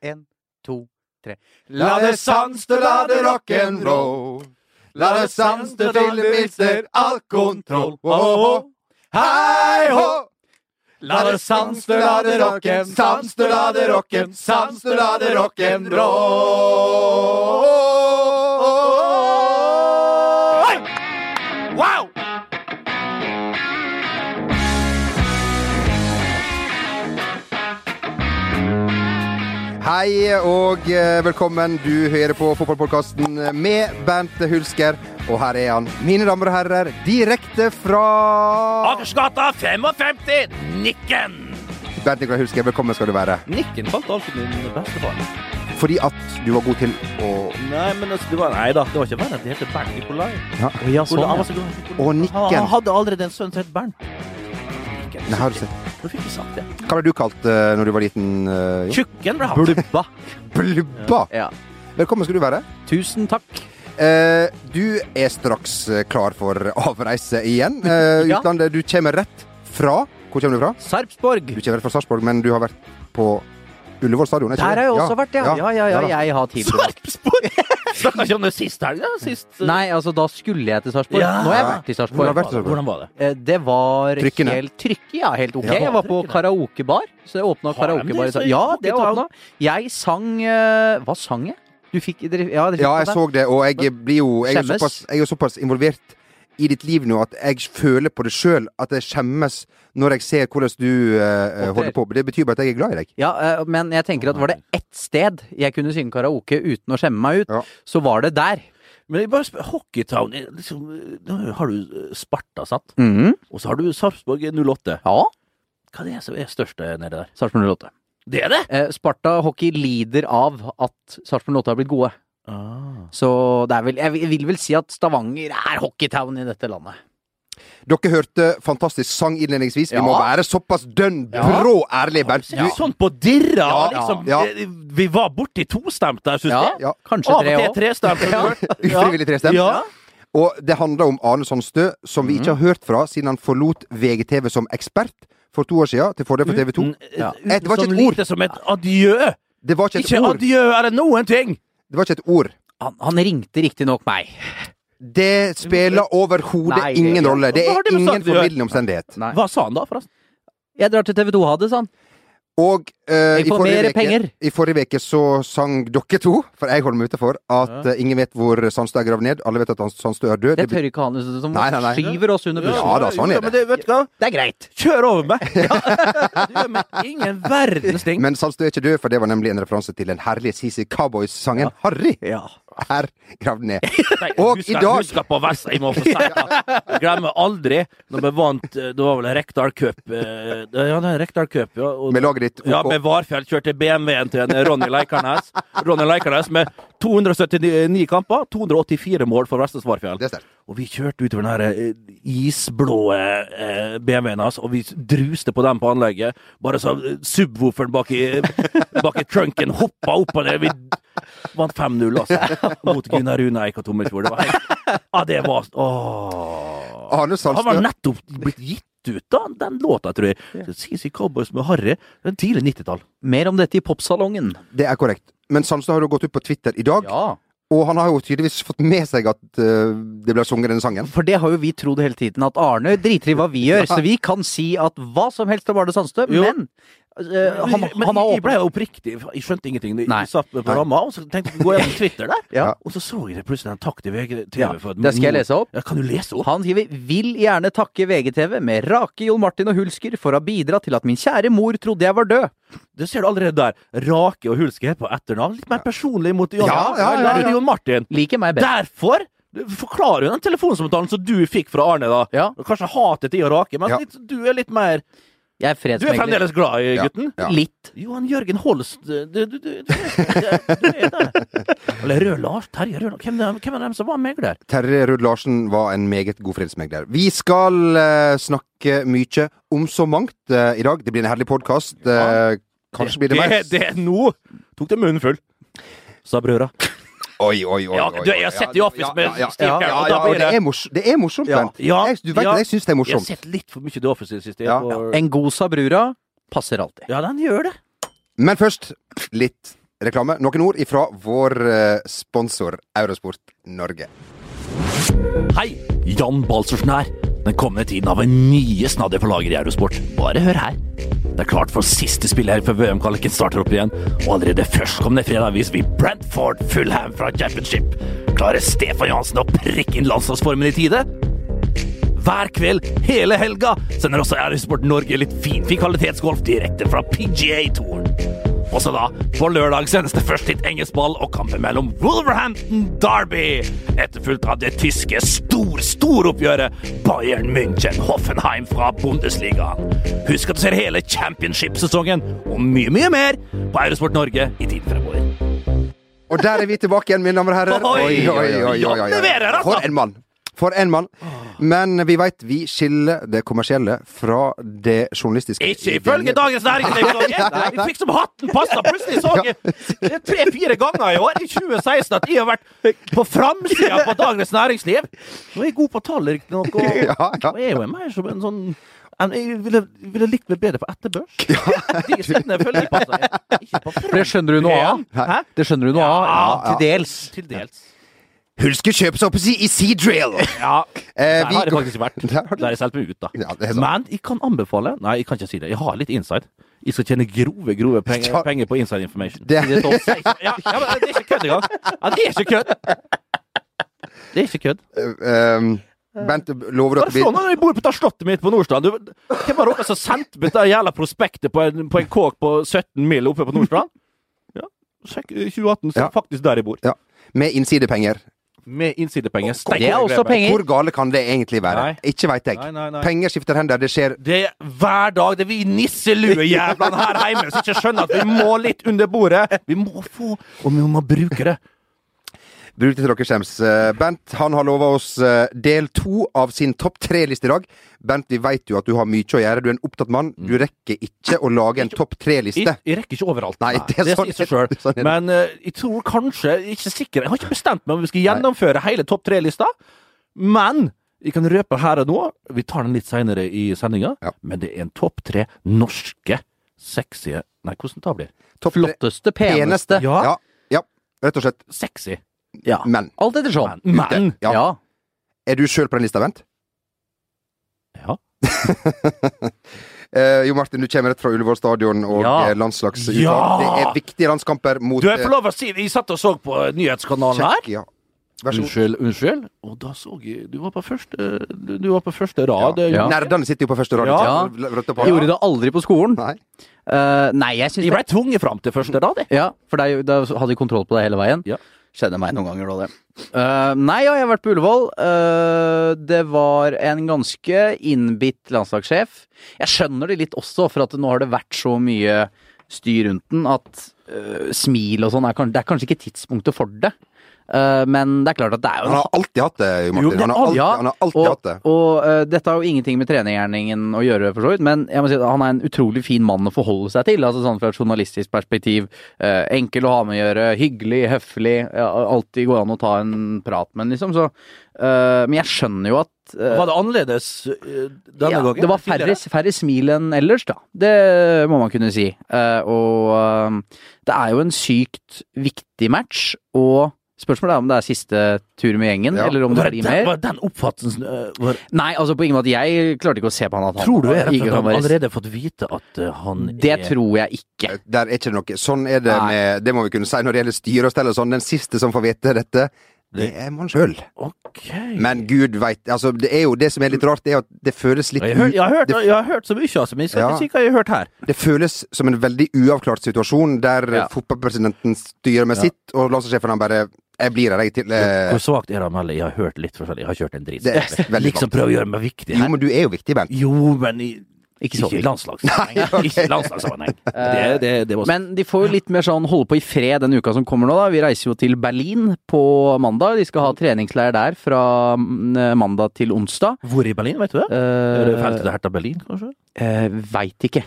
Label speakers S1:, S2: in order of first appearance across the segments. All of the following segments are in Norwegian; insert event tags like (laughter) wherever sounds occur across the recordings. S1: En, to, tre.
S2: La det sans til, la det rock'n'roll. La det sans til til det mister all kontroll. Åhå, hei hå! La det sans til, la det rocken, sans til, la det rocken, sans til, la det rock'n'roll. Hei! Wow!
S3: Hei og eh, velkommen. Du hører på fotballpodkasten med Bernt Hulsker. Og her er han, mine damer og herrer, direkte fra
S2: Akersgata 55, Nikken!
S3: Bernt Nikolai Hulsker, velkommen skal du være.
S2: Nikken falt alltid min bestefar.
S3: Fordi at du var god til å
S2: Nei, men altså, det var, nei da, det var ikke verre. Det heter Bernt Nikolai.
S1: Ja, sånn,
S2: Hvordan- han
S1: ja.
S2: var så glad i Nikolai.
S3: Og
S2: Han, han
S3: nikken.
S2: hadde allerede en sønn som het Bernt. Nikken.
S3: Nei, har du sett.
S2: Nå fikk vi sagt det.
S3: Hva ble du kalt eh, når du var liten? eh, jo?
S2: Tjukken ble han.
S1: Blubba.
S3: Blubba.
S1: Ja.
S3: Velkommen skal du være.
S1: Tusen takk.
S3: Eh, du er straks eh, klar for avreise igjen. Eh,
S1: Ja.
S3: Utlandet. Du kommer rett fra Hvor kommer du fra?
S1: Sarpsborg.
S3: Du kommer rett fra Sarpsborg, men du har vært på Ullevål stadion? er
S1: Der
S3: ikke
S1: har
S3: det?
S1: jeg også vært, ja. Ja, ja, ja,
S3: da.
S1: jeg har tilbrakt
S2: Sarpsborg! (laughs) Snakka ikke om det sist helg, da? Sist, eh,
S1: Nei, altså, da skulle jeg til Sarpsborg.
S2: Ja.
S1: Nå har jeg vært i
S3: Hvor har
S1: Sarpsborg.
S3: du vært?
S2: hvordan var det? Hvordan var det?
S1: Eh, Det var
S3: Trykkene.
S1: helt trykket, ja. Helt ok.
S3: Ja.
S1: jeg var på
S2: Trykkene.
S1: karaokebar. Så jeg åpna
S2: Har de det
S1: karaokebar. i
S2: så
S1: Sar-
S2: i
S1: Ja, det
S2: Pocket Town?
S1: åpna. Jeg sang eh, Hva sang jeg? Du fikk dere- Ja, dere fikk
S3: Ja,
S1: med
S3: jeg
S1: det.
S3: så det, og jeg blir jo jeg er,
S1: Skjemmes?
S3: såpass, jeg er jo såpass involvert i ditt liv nå at jeg føler på det sjøl, at jeg skjemmes når jeg ser hvordan du eh,
S1: Opptrer.
S3: holder på. Det betyr bare at jeg er glad i deg.
S1: Ja, eh, men jeg tenker at var det ett sted jeg kunne synge karaoke uten å skjemme meg ut,
S3: Ja.
S1: så var det der.
S2: Men jeg bare spør, Hockeytown er liksom, eh, Nå har du eh, Sparta, sant?
S3: Mhm.
S2: Og så har du Sarpsborg 08.
S1: Ja,
S2: Hva er det som er størst eh, nede der?
S1: Sarpsborg 08.
S2: Det er det!
S1: Eh, Sparta Hockey lider av at Sarpsborg 08 har blitt gode.
S3: Ah.
S1: Så det er vel, jeg vil vel si at Stavanger er hockeytown i dette landet.
S3: Dere hørte fantastisk sang innledningsvis. Vi
S1: Ja.
S3: må være såpass dønn
S1: Ja.
S3: brå ærlig, Bernt.
S2: Ja. Sånn på dirra!
S3: Ja,
S2: liksom,
S3: ja.
S2: eh, Vi var borti tostemt der, syns jeg.
S3: Ja.
S1: kanskje
S2: Av og
S1: tre
S2: til
S1: òg.
S2: (laughs) trestemt.
S3: Du (laughs) ufrivillig trestemt.
S2: Ja.
S3: Og det handler om Arne Sandstø, som vi
S1: Mhm.
S3: ikke har hørt fra siden han forlot VGTV som ekspert for to år siden, til fordel for TV 2.
S1: Ja.
S2: Uten
S3: Det var ikke
S2: sånn
S3: et ord.
S2: lite som et adjø.
S3: Det var ikke et
S2: Ikke
S3: ord.
S2: adjø er det noen ting!
S3: Det var ikke et ord.
S1: Han, han ringte riktignok meg.
S3: Det spiller
S1: Nei,
S3: overhodet
S1: det-
S3: ingen rolle. Det
S2: Hva har
S3: er
S2: det med
S3: ingen
S2: saken å gjøre?
S3: formidlende omstendighet.
S1: Nei.
S2: Hva sa han da, forresten?
S1: Jeg drar til TV2 ha det, sa han.
S3: Og eh,
S1: Vi
S3: i,
S1: får mer
S3: forrige veke,
S1: penger.
S3: i forrige veke så sang dere to, for jeg holder meg utenfor, at eh, ingen vet hvor Sandstø er gravd ned. Alle vet at han- Sandstø er
S1: Det
S3: død. Det blir-
S1: tør ikke han liksom, som
S3: Nei, nei, nei.
S1: skyver oss under bussen.
S3: Ja da, sånn er
S2: Ja,
S3: det.
S2: Men det, vet du hva?
S1: Det er greit.
S2: Kjør over (laughs) meg! Du gjør meg ingen verdens ting.
S3: Men Sandstø er ikke død, for det var nemlig en referanse til den herlige CC Cowboys-sangen Harry
S1: Ja.
S3: er gravd ned.
S2: Nei,
S3: Og
S2: husker,
S3: i dag-
S2: Husker på Vest, jeg må få si det. Jeg Glemmer aldri når vi vant eh, Det var vel Rekdal Cup eh, Ja, det er Rekdal Cup, ja. Og,
S3: Med laget ditt.
S2: ja,
S3: OK.
S2: med Varfjell kjørte BMW-en til en Ronny Leikarnes. Ronny Leikarnes med 279 kamper, 284 mål for Vestes Varfjell.
S3: Det er sterkt.
S2: Og vi kjørte utover den her eh, isblå eh, BMW-en hans, og vi druste på dem på anlegget. Bare så eh, subwooferen bak i, bak i trunken hoppa opp og ned. Vi vant 5-0, altså. Mot Gunnar Rune Eik og Tommelfjord. Det var helt Ja, det var Åh.
S3: Arne
S2: Han var
S3: Sandstø
S2: nettopp blitt gitt ut, da, den låta, tror jeg. CC Cowboys med Harry. det er Tidlig 90-tall.
S1: Mer om dette i popsalongen.
S3: Det er korrekt. Men Sandstø har jo gått ut på Twitter i dag,
S1: Ja.
S3: og han har jo tydeligvis fått med seg at eh, det ble sunget denne sangen.
S1: For det har jo vi trodd hele tiden, at Arne driter i hva vi gjør. Så vi kan si at hva som helst om Arne Sandstø,
S2: Jo.
S1: men eh, han,
S2: Men
S1: han har
S2: jeg ble
S1: åpna
S2: jo oppriktig, jeg skjønte ingenting. Jeg
S1: Nei.
S2: satt på ramma, og så tenkte jeg gå gjennom Twitter
S1: (laughs)
S2: der.
S1: Ja.
S2: Og så så jeg det plutselig en takk til VG TV.
S1: Ja,
S2: for at-
S1: det skal jeg lese opp.
S2: Ja, kan du lese opp?
S1: Han skriver 'Vil gjerne takke VGTV med rake Jon Martin og Hulsker for å ha bidratt til at min kjære mor trodde jeg var død'.
S2: Det ser du allerede der. Rake og Hulske er på etternavn. Litt mer personlig mot Jan,
S3: Ja, ja, ja, ja.
S2: Jon Martin.
S1: Liker meg best.
S2: Derfor forklarer hun den telefonsamtalen som du fikk fra Arne, da.
S1: Ja.
S2: Kanskje hatet til å rake, men
S3: Ja.
S2: litt, du er litt mer
S1: Jeg er
S2: Du er
S1: fredsmegler.
S2: fremdeles glad i
S3: Ja.
S2: gutten?
S3: Ja.
S1: Litt.
S2: Johan Jørgen Holst du, du, du, du, du er
S1: (laughs)
S2: der. Eller Rød Lars. Terje Rød Hvem, er- hvem er dem som var megler?
S3: Terje Ruud Larsen var en meget god fredsmegler. Vi skal eh, snakke mye om så mangt eh, i dag. Det blir en herlig podkast. kanskje blir det mer.
S2: det- Nå tok det munnen full. Sa brødra.
S3: Oi, oi, oi.
S2: Ja,
S3: oi,
S2: du, jeg
S3: oi.
S2: har sett
S3: Ja,
S2: i Office
S3: ja,
S2: med
S3: ja, ja,
S2: Steve
S3: ja,
S2: Carell,
S3: ja,
S2: og
S3: ja,
S2: da blir
S3: og det
S2: det-
S3: er, mors det er morsomt,
S2: Ja.
S3: Bent.
S2: Ja.
S3: Jeg, du vet
S2: Ja.
S3: det, jeg syns det er
S2: Jeg har
S3: morsomt.
S2: sett litt for mye The Office i det siste.
S3: Ja.
S2: og-
S1: En god sabrura passer alltid.
S2: ja, den gjør det.
S3: Men først litt reklame. Noen ord ifra vår eh, sponsor Eurosport Norge.
S2: Hei, Jan Balsersen her. Den kommende tiden har vi mye snadder på lager i Eurosport. Bare hør her. Det er klart for siste spill her før VM-kvaliken starter opp igjen. Og allerede førstkommende fredag viser vi Brentford Fullham fra Championship. Klarer Stefan Johansen å prikke inn landslagsformen i tide? Hver kveld, hele helga, sender også Eurosport Norge litt finfin kvalitetsgolf direkte fra PGA-touren. Også da, på lørdag sendes det først litt engelsk ball og kampen mellom Wolverhampton Derby, etterfulgt av det tyske stor-storoppgjøret Bayern München-Hoffenheim fra Bundesligaen. Husk at du ser hele championship-sesongen og mye, mye mer på Eurosport Norge i tiden fremover.
S3: Og der er vi tilbake igjen, mine damer og herrer.
S2: Oi, Jan leverer, altså.
S3: For en mann. For en mann. Men vi veit vi skiller det kommersielle fra det journalistiske.
S2: Ikke ifølge Dagens
S3: (laughs)
S2: Næringsliv! Roger. Vi fikk som hatten passa! Plutselig så jeg tre-fire ganger i år, i 2016, at jeg har vært på framsida på Dagens Næringsliv! Nå er jeg god på tall, riktignok, og,
S3: (laughs) Ja, ja.
S2: og er jo mer som en sånn en, jeg ville, ville likt meg bedre på etterbørs. De stedene følger altså. jeg passer. Ikke på
S1: For det skjønner du noe av.
S2: fram. Hæ?
S1: Det skjønner du noe av.
S2: Ja,
S1: til dels.
S2: Til dels.
S3: Husk å kjøpe seg opp i
S2: (laughs)
S3: Seadrill!
S2: Ja.
S3: Eh,
S2: Der
S3: vi
S2: har jeg
S3: går-
S2: faktisk
S3: (laughs)
S2: vært.
S3: Der har du-
S2: Der har jeg solgt meg ut, da.
S3: Ja, det er sant.
S2: Men jeg kan anbefale Nei, jeg kan ikke si det. Jeg har litt inside. Jeg skal tjene grove grove
S3: (laughs)
S2: penger,
S3: Ja.
S2: penger på inside information.
S3: Det-
S2: I topp seks. ja, ja, men det er ikke kødd engang! Ja, det er ikke kødd! Det er ikke kødd.
S3: Eh, um, Bent, lover du at
S2: Bare
S3: vi
S2: slå når jeg bor på det slottet mitt på Nordstrand. Du, hvem var dere som sendte meg det jævla prospektet på en, på en kåk på 17 mil oppe på Nordstrand? Ja, sjekk eh, 2018, så
S3: Ja.
S2: faktisk der jeg bor.
S3: ja, Med innsidepenger.
S2: Med innsidepenger. Steik
S1: Det er
S2: og
S1: også
S2: glede meg.
S1: penger.
S3: Hvor gale kan det egentlig være?
S2: Nei.
S3: Ikke veit jeg.
S2: Nei, nei, nei.
S3: Penger skifter hender, det skjer
S2: Det er hver dag det er vi nisseluejævlene her hjemme som ikke skjønner at vi må litt under bordet. Vi må få, og vi må bruke det.
S3: Bruk det til dere skjems. Eh, Bent han har lova oss eh, del to av sin topp tre-liste i dag. Bent, vi veit jo at du har mye å gjøre. Du er en opptatt mann. Du rekker ikke å lage en topp
S2: Jeg,
S3: tre-liste.
S2: jeg rekker ikke overalt.
S3: Nei, det er sånn-
S2: sier seg selv.
S3: det er sånn det er.
S2: Men eh, jeg tror kanskje jeg er Ikke sikker. Jeg har ikke bestemt meg om vi skal gjennomføre hele topp tre-lista. Men jeg kan røpe her og nå, vi tar den litt seinere i sendinga,
S3: Ja.
S2: men det er en topp tre norske sexy Nei, hvordan da blir det?
S3: Topp tre
S1: Flotteste, peneste.
S3: Ja. ja. Rett og slett.
S2: Sexy.
S1: Ja.
S3: Men
S1: Alt etter sånn.
S2: Men, men
S3: ja.
S1: Ja.
S3: er du sjøl på den lista, Bent?
S2: Ja.
S3: Eh, jo Martin, du kommer rett fra Ullevål stadion og
S1: Ja.
S3: eh, landslagsuttak.
S2: Ja.
S3: Det er viktige landskamper mot
S2: Du, jeg
S3: eh,
S2: får lov å si det. Jeg satt og så på eh, nyhetskanalen her.
S3: Tsjekkia. Vær så god.
S2: Unnskyld, unnskyld. Og da så jeg Du var på første, du du var på første rad. eh,
S3: Ja.
S2: Ja.
S3: Nerdene sitter jo på første rad.
S1: Ja.
S3: ikke sant? Rødt og
S1: Jeg Gjorde det aldri på skolen.
S3: Nei.
S1: Eh, nei, jeg syns
S2: Jeg ble tvunget fram til første rad, jeg.
S1: Ja, for da da hadde jeg kontroll på det hele veien.
S2: Ja.
S1: Skjedde meg noen ganger da, det. Eh, nei, ja, jeg har vært på Ullevål. Eh, det var en ganske innbitt landslagssjef. Jeg skjønner det litt også, for at nå har det vært så mye styr rundt den at eh, smil og sånn er, kan- det er kanskje ikke tidspunktet for det. Eh, men det er klart at det er jo
S3: Han har alltid hatt det, jo Martin.
S2: men
S3: han, har alltid,
S1: ja,
S3: han har alltid
S1: og,
S3: hatt det.
S1: Og eh, dette har jo ingenting med trenergjerningen å gjøre, for så vidt, men jeg må si at han er en utrolig fin mann å forholde seg til. altså sånn Fra et journalistisk perspektiv. eh, enkel å ha med å gjøre, hyggelig, høflig. ja, alltid går an å ta en prat med han, liksom. Så, eh, men jeg skjønner jo at eh,
S2: Var det annerledes eh, denne
S1: ja,
S2: gangen?
S1: det var færre, færre smil enn ellers, da. Det må man kunne si. Eh, og eh, det er jo en sykt viktig match, og spørsmålet er om det er siste tur med gjengen,
S3: Ja.
S1: eller om det
S2: Var det
S1: blir
S2: den,
S1: mer.
S2: var den oppfattelsen eh, var,
S1: Nei, altså på ingen måte. Jeg klarte ikke å se på han at han
S2: Tror du er rett og slett
S1: Igor
S2: at han
S1: Alvarez.
S2: allerede har fått vite at eh, han
S1: Det
S2: er
S1: tror jeg ikke.
S3: Eh, Der er ikke det noe. Sånn er det
S1: Nei.
S3: med Det må vi kunne si når det gjelder styre og stell og sånn. Den siste som får vite dette, det er man sjøl.
S2: Ok.
S3: Men gud veit. Altså, det er jo det som er litt rart, det er at det føles litt
S2: jeg, har,
S3: u-
S2: jeg, har hørt, jeg har hørt så mye, altså, men jeg skal
S3: Ja.
S2: ikke si hva jeg har hørt her.
S3: Det føles som en veldig uavklart situasjon, der eh,
S1: Ja.
S3: fotballpresidenten styrer med sitt, og landslagssjefen han bare 'Jeg blir her, jeg', til eh,
S2: Hvor svakt er det å melde? Jeg har hørt litt forskjellig. Jeg har ikke hørt en dritt.
S3: Det er veldig
S2: Liksom
S3: svakt.
S2: prøv å gjøre meg viktig
S3: Jo,
S2: her.
S3: men du er jo viktig, Bent.
S2: Jo, men i
S1: Ikke så
S2: Ikke i
S3: (laughs)
S2: landslagssammenheng. Ikke i landslagssammenheng.
S3: Eh.
S2: Det, det, det var
S1: Eh, Men de får jo litt mer sånn holde på i fred den uka som kommer nå, da. Vi reiser jo til Berlin på mandag. De skal ha treningsleir der fra mm, mandag til onsdag.
S2: Hvor i Berlin, vet du det? Er det
S1: Eh,
S2: feltet til Hertha Berlin, kanskje?
S1: eh, Veit ikke.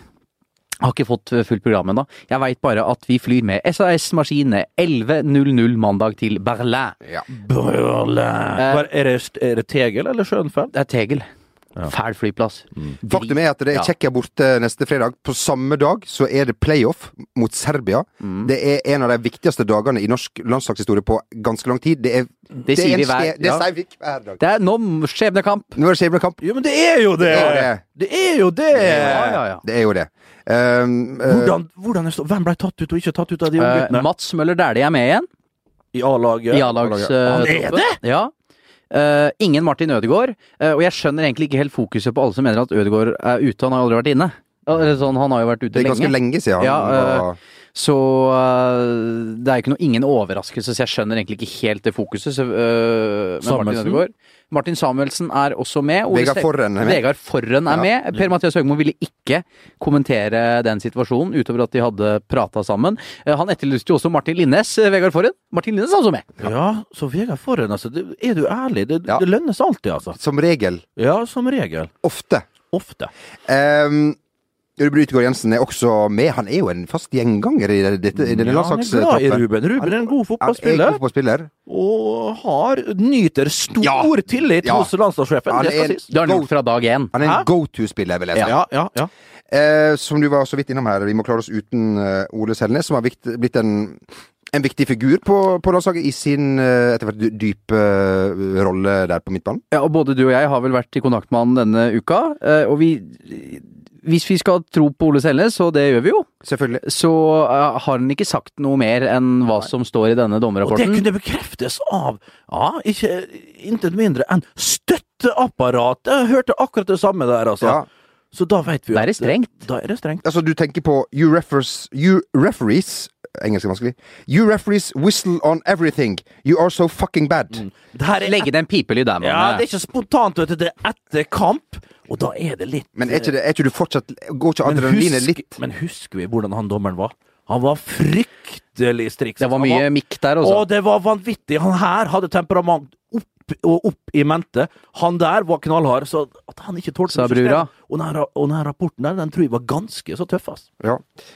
S1: Har ikke fått eh, fullt program ennå. Jeg veit bare at vi flyr med SAS-maskinene 11.00 mandag til Berlin.
S3: Ja.
S2: Eh. Berlin. er, det, er det Tegel eller Schönfeld?
S1: Det er Tegel. Fæl flyplass.
S3: Faktum er at det er
S1: Ja.
S3: Tsjekkia borte neste fredag. På samme dag så er det playoff mot Serbia.
S1: Mm.
S3: Det er en av de viktigste dagene i norsk landslagshistorie på ganske lang tid. Det, er,
S1: Det sier
S3: er en
S1: vi hver-
S3: skje- Det
S1: ja.
S3: sier vi hver dag.
S1: Det er nå skjebnekamp.
S3: Nå er det skjebnekamp.
S2: Jo, men det er jo det!
S3: Det er
S2: Det er jo det!
S1: Ja, ja, ja.
S3: Det er jo det. Um, eh,
S2: Hvordan, hvordan er stå- Hvem ble tatt ut og ikke tatt ut av de unge
S1: Eh,
S2: guttene?
S1: Mats Møller Dæhlie er med igjen.
S2: I A-laget?
S1: I A-lags...
S2: Han
S1: eh,
S2: er
S1: troppen. Ja. Eh, ingen Martin Ødegaard. eh, og jeg skjønner egentlig ikke helt fokuset på alle som mener at Ødegaard er ute. Han har jo aldri vært inne. Eller sånn, han har jo vært ute
S3: det er ganske
S1: lenge.
S3: lenge siden. han
S1: Ja, eh,
S3: var-
S1: Så eh, det er jo ikke noe, ingen overraskelse, så jeg skjønner egentlig ikke helt det fokuset. Så, eh, med Martin
S2: Samuelsen?
S1: Ødegaard. Martin Samuelsen er også med. Ole
S3: Vegard
S1: Ste-
S3: Forren eh, er med.
S1: Vegard Forren er med. Per Mathias Høgmo ville ikke kommentere den situasjonen, utover at de hadde prata sammen. Eh, han etterlyste jo også Martin Linnes, eh, Vegard Forren. Martin Linnes er også med.
S2: Ja, så Vegard Forhen, altså. Det, er du ærlig? Det,
S3: Ja.
S2: det lønnes alltid, altså.
S3: som regel
S2: Ja, som regel.
S3: ofte.
S2: Ofte.
S3: Um, Ruben Utgaard Jensen er også med. Han er jo en fast gjenganger i, dette, i denne
S2: Ja, han er glad i
S3: landslagstroppen.
S2: Ruben. Ruben er
S3: Han
S2: en god
S3: er god
S2: fotballspiller,
S3: fotballspiller.
S2: og har, nyter stor
S3: Ja.
S2: tillit
S3: Ja.
S2: hos landslagssjefen.
S3: Han er
S2: Det skal
S3: en-
S2: sies.
S1: Det har han
S3: Go-
S1: gjort fra dag én.
S3: Han er
S2: Hæ?
S3: en go-to-spiller, vil jeg si.
S2: Ja, ja, ja.
S3: Eh, som du var så vidt innom her, vi må klare oss uten eh, Ole Selnes, som har vikt, blitt en, en viktig figur på, på landslaget i sin eh, etter hvert dy- dype eh, rolle der på midtbanen.
S1: Ja, og både du og jeg har vel vært i kontakt med han denne uka. eh, Og vi Hvis vi skal tro på Ole Selnes, og det gjør vi jo,
S3: Selvfølgelig.
S1: så eh, har han ikke sagt noe mer enn hva som står i denne
S2: Og det
S1: dommerrapporten.
S2: kunne bekreftes av ja, ikke intet mindre enn støtteapparatet. Jeg hørte akkurat det samme der, altså.
S3: Ja.
S2: Så da vet vi
S1: Da er det strengt.
S2: Da er det strengt.
S3: Altså, du tenker på you refers, you referees Engelsk er vanskelig. You referees whistle on everything. You are so fucking bad.
S2: Det her er
S1: Legge ned en pipelyd der,
S2: ja,
S1: mann.
S2: det er ikke spontant, vet du. Det er etter kamp, og da er det litt
S3: Men er ikke, det, er ikke du fortsatt Går ikke
S2: Men
S3: adrenalinet
S2: husk-
S3: litt
S2: Men husker vi hvordan han dommeren var? Han var fryktelig striks.
S1: Det var
S2: Han
S1: mye mikk der,
S2: Å,
S1: altså.
S2: det var vanvittig! Han her hadde temperament opp og opp i mente. Han der var knallhard, så at han ikke tålte
S1: Sa
S2: noe system.
S1: brura.
S2: Og den, her, og den her rapporten der, den tror jeg var ganske så tøff, ass.
S3: Ja.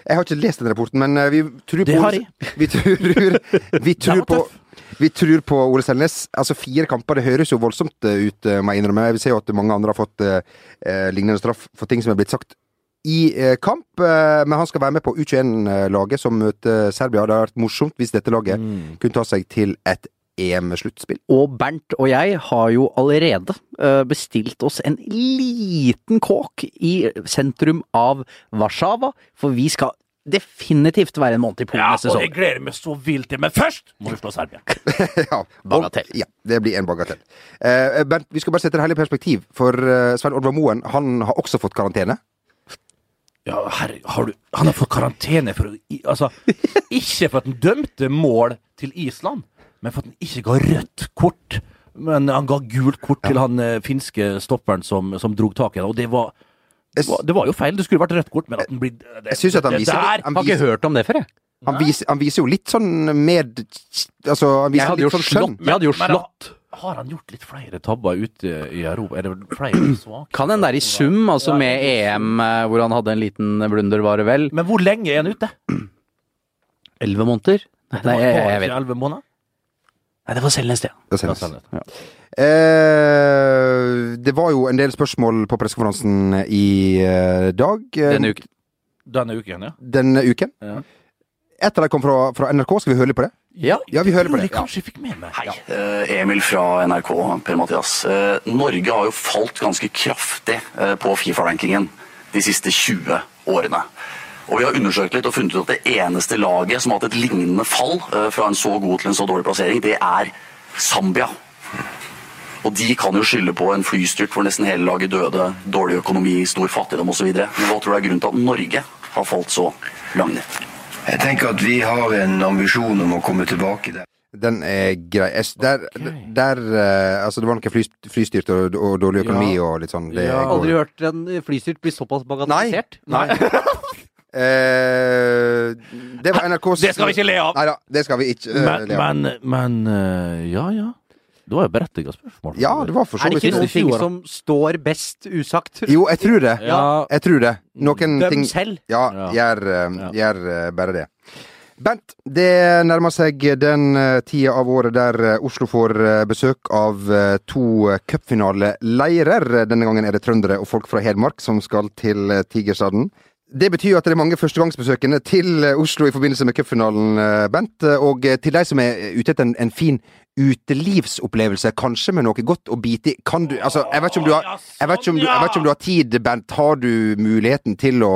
S3: Jeg har ikke lest den rapporten, men eh, vi tror
S2: Det
S3: på
S2: har jeg.
S3: Vi tror, vi tror
S2: var
S3: på
S2: tøff.
S3: vi tror på Ole Selnes. Altså Fire kamper, det høres jo voldsomt eh, ut, eh, må jeg innrømme. Vi ser jo at mange andre har fått eh, eh, lignende straff for ting som er blitt sagt i eh, kamp. eh, men han skal være med på U21-laget som møter Serbia. Det hadde vært morsomt hvis dette laget
S2: Mm.
S3: kunne ta seg til et EM-sluttspill. (laughs)
S1: Og Bernt og jeg har jo allerede eh, bestilt oss en liten kåk i sentrum av Warszawa, for vi skal definitivt være en måned i Polen
S2: Ja,
S1: neste
S2: og jeg
S1: sommer.
S2: gleder meg så vilt til Men først må vi slå Serbia!
S3: ja.
S1: Bagatell.
S3: Og, ja, det blir en bagatell. Eh, Bernt, vi skal bare sette det hele i perspektiv, for eh, Svein Oddvar Moen han har også fått karantene.
S2: Ja, herre, har du Han har fått karantene for å i-
S1: (laughs)
S2: Altså, ikke for at han dømte mål til Island, men for at han ikke ga rødt kort. Men han ga gult kort til han eh, finske stopperen som, som drog tak i ham, og det var
S3: Jeg
S2: Det var- Det var jo feil. Det skulle vært rødt kort, men at den blir det,
S3: Jeg synes at han
S2: det
S3: viser
S2: der-
S3: litt- han
S1: Har ikke
S3: viser-
S1: hørt om det før, jeg.
S3: Han viser, han viser jo litt sånn med Altså, han
S1: Jeg
S3: viser
S1: hadde
S3: litt
S1: jo
S3: sånn skjønn.
S1: slått. Jeg hadde jo
S2: Men
S1: slått.
S2: Har, har han gjort litt flere tabber ute i Europa? Er det flere svake?
S1: Kan hende det er i sum, altså med EM eh, hvor han hadde en liten blunder, var det vel.
S2: Men hvor lenge er han ute?
S1: Elleve måneder? Nei, jeg, jeg, jeg vet
S2: Elleve måneder?
S1: Nei, det var Selnes, det.
S3: Det,
S2: Ja,
S3: sendes.
S2: sannhet.
S3: Eh, det var jo en del spørsmål på pressekonferansen i eh, dag. eh,
S1: Denne uken.
S2: Denne uken, ja.
S3: denne uken.
S2: Ja.
S3: Etter de kom fra, fra NRK, skal vi høre litt på det?
S1: Ja.
S3: Ja, vi hører på
S2: Tror
S3: det.
S2: jeg
S3: Ja.
S2: kanskje jeg fikk med meg. Ja.
S4: Eh, Emil fra NRK, Per-Mathias. Eh, Norge har jo falt ganske kraftig eh, på Fifa-rankingen de siste 20 årene. Og vi har undersøkt litt og funnet ut at det eneste laget som har hatt et lignende fall eh, fra en så god til en så dårlig plassering, det er Zambia. Og de kan jo skylde på en flystyrt hvor nesten hele laget døde, dårlig økonomi, stor fattigdom osv. Men hva tror du er grunnen til at Norge har falt så langt ned?
S5: Jeg tenker at vi har en ambisjon om å komme tilbake der.
S3: Den er grei. Jeg s- Der, der eh, Altså, det var noe fly, flystyrt og, og dårlig økonomi
S2: Ja.
S3: og litt sånn. Det
S2: Ja.
S3: går.
S1: Aldri hørt en flystyrt bli såpass bagatellisert.
S3: (laughs) Eh, det var NRKs
S2: Det skal vi ikke le av!
S3: Nei da, det skal vi ikke. eh,
S2: Men,
S3: le av.
S2: men, men eh, Ja, ja. Det var jo berettiget spørsmål.
S3: ja, det var for så
S1: Er det
S3: vidt
S1: ikke
S2: noe
S1: noen
S3: det.
S1: ting
S2: Siste året.
S1: som står best usagt?
S3: Jo, jeg tror det.
S2: Ja.
S3: Jeg tror det. Noen
S1: Døm
S3: ting
S1: selv.
S3: Ja,
S2: Ja.
S3: gjør, eh, gjør eh, bare det. Bent, det nærmer seg den eh, tida av året der eh, Oslo får eh, besøk av eh, to eh, cupfinaleirer. Denne gangen er det trøndere og folk fra Hedmark som skal til eh, Tigerstaden. Det betyr jo at det er mange førstegangsbesøkende til eh, Oslo i forbindelse med cupfinalen, eh, Bent. Eh, Og eh, til de som er ute etter en, en fin utelivsopplevelse, kanskje med noe godt å bite i. Kan du Altså, jeg vet ikke om du har, jeg vet ikke om du, jeg vet ikke om du har tid, Bent. Har du muligheten til å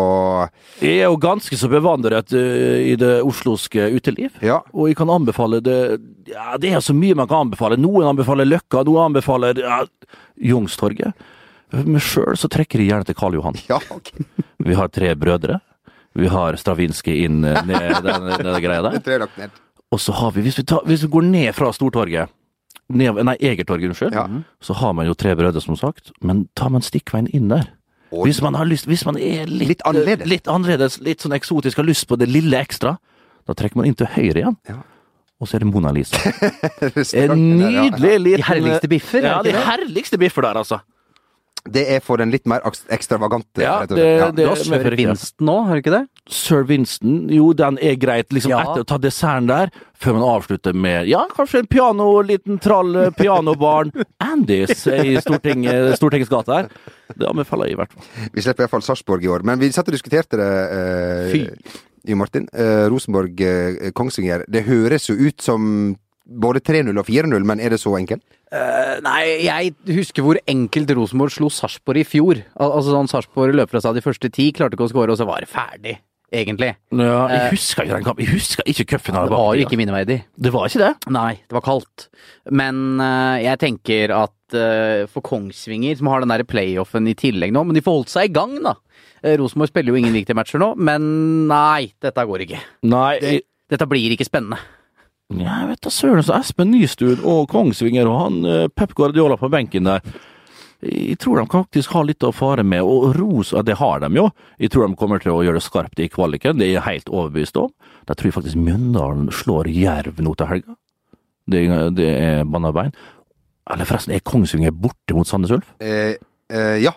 S2: Jeg er jo ganske så bevandret eh, i det osloske uteliv.
S3: Ja.
S2: Og jeg kan anbefale det ja, Det er så mye man kan anbefale. Noen anbefaler Løkka, noen anbefaler ja, Youngstorget. Men sjøl så trekker jeg gjerne til Karl Johan.
S3: Ja, ok.
S2: Vi har tre brødre. Vi har Stravinskij inn eh, ned den, den greia der.
S3: Det tror jeg er lagt ned.
S2: Og så har vi, hvis vi, tar, hvis vi går ned fra Stortorget ned, Nei, Egertorget, unnskyld.
S3: Ja.
S2: Så har man jo Tre brødre, som sagt. Men tar man stikkveien inn der
S3: Oi.
S2: hvis man, har lyst, hvis man er litt,
S3: Litt annerledes.
S2: eh, litt annerledes, litt sånn eksotisk, har lyst på det lille ekstra, da trekker man inn til høyre igjen.
S3: Ja.
S2: Og så er det Mona Lisa. En
S3: Restauranten der, ja.
S2: nydelig liten
S1: De herligste biffer, er
S2: Ja,
S1: det
S2: de
S1: ikke det?
S2: herligste biffer der, altså.
S3: Det er for den litt mer aks- ekstravagante.
S2: Ja,
S3: rett og slett. ja.
S1: Du
S2: Det
S1: har
S2: er med
S1: Sør
S2: for riktig.
S1: Vinsten nå, har du ikke det?
S2: Sir Winston, jo, den er greit. Liksom
S1: Ja.
S2: etter å ta desserten der, før man avslutter med ja, kanskje en piano, liten trall eh,
S1: (laughs)
S2: pianobarn. Andys i Storting, eh, Stortingets gate her. Det anbefaler jeg i hvert fall.
S3: Vi slipper iallfall Sarpsborg i år. Men vi satt og diskuterte det, eh, Jo Martin. Eh, Rosenborg, eh, Kongsvinger. Det høres jo ut som både 3-0 og 4-0, men er det så enkelt?
S1: Eh, nei, jeg husker hvor enkelt Rosenborg slo Sarpsborg i fjor. Al altså sånn Sarpsborg løp fra seg de første ti, klarte ikke å skåre, og så var det ferdig, egentlig.
S2: jeg husker ikke den kampen. Jeg husker ikke cupfinalen.
S1: Eh. Det var jo ikke minneverdig.
S2: det var ikke det.
S1: Nei, det var kaldt. Men eh, jeg tenker at eh, for Kongsvinger, som har den der playoffen i tillegg nå, men de får holdt seg i gang, da. Eh, Rosenborg spiller jo ingen viktige matcher nå, men nei, dette går ikke.
S2: Nei, jeg,
S1: Dette blir ikke spennende.
S2: jeg vet da søren. Så Espen Nystuen og Kongsvinger og han eh, Pep Guardiola på benken der. Jeg tror de faktisk har litt å fare med, og ros, ja, det har de jo. Jeg tror de kommer til å gjøre det skarpt i kvaliken, det er jeg helt overbevist om. Da tror jeg faktisk Mjøndalen slår Jerv nå til helga. Det, det er banna bein. Eller forresten, er Kongsvinger borte mot Sandnes Ulf?
S3: Eh, eh, ja.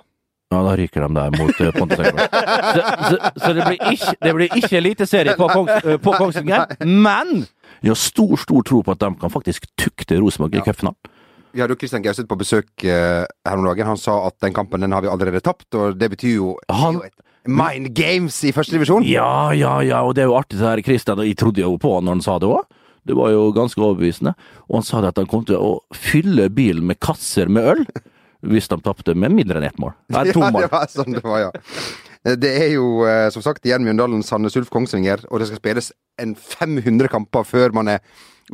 S2: Ja, da ryker de der mot eh, Pontus England. Så, så, så det blir ikke, det blir ikke eliteserie på, Kongs, eh, på Kongsvinger, men jeg har stor, stor tro på at de kan faktisk tukte Rosenborg i cupfinalen.
S3: Vi hadde jo Christian Gauseth på besøk eh, her om dagen. Han sa at den kampen den har vi allerede tapt, og det betyr jo
S2: Han-
S3: Mind games i første divisjon!
S2: Ja, ja, ja, og det er jo artig det her, Kristian, og jeg trodde jo på han når han sa det òg. Det var jo ganske overbevisende. Og han sa det at han kom til å fylle bilen med kasser med øl hvis de tapte med mindre enn ett mål. Nei, to
S3: (laughs) Ja,
S2: mål.
S3: det var sånn det var, ja. Det er jo eh, som sagt igjen Mjøndalen, Sandnes Ulf, Kongsvinger, og det skal spilles en 500 kamper før man er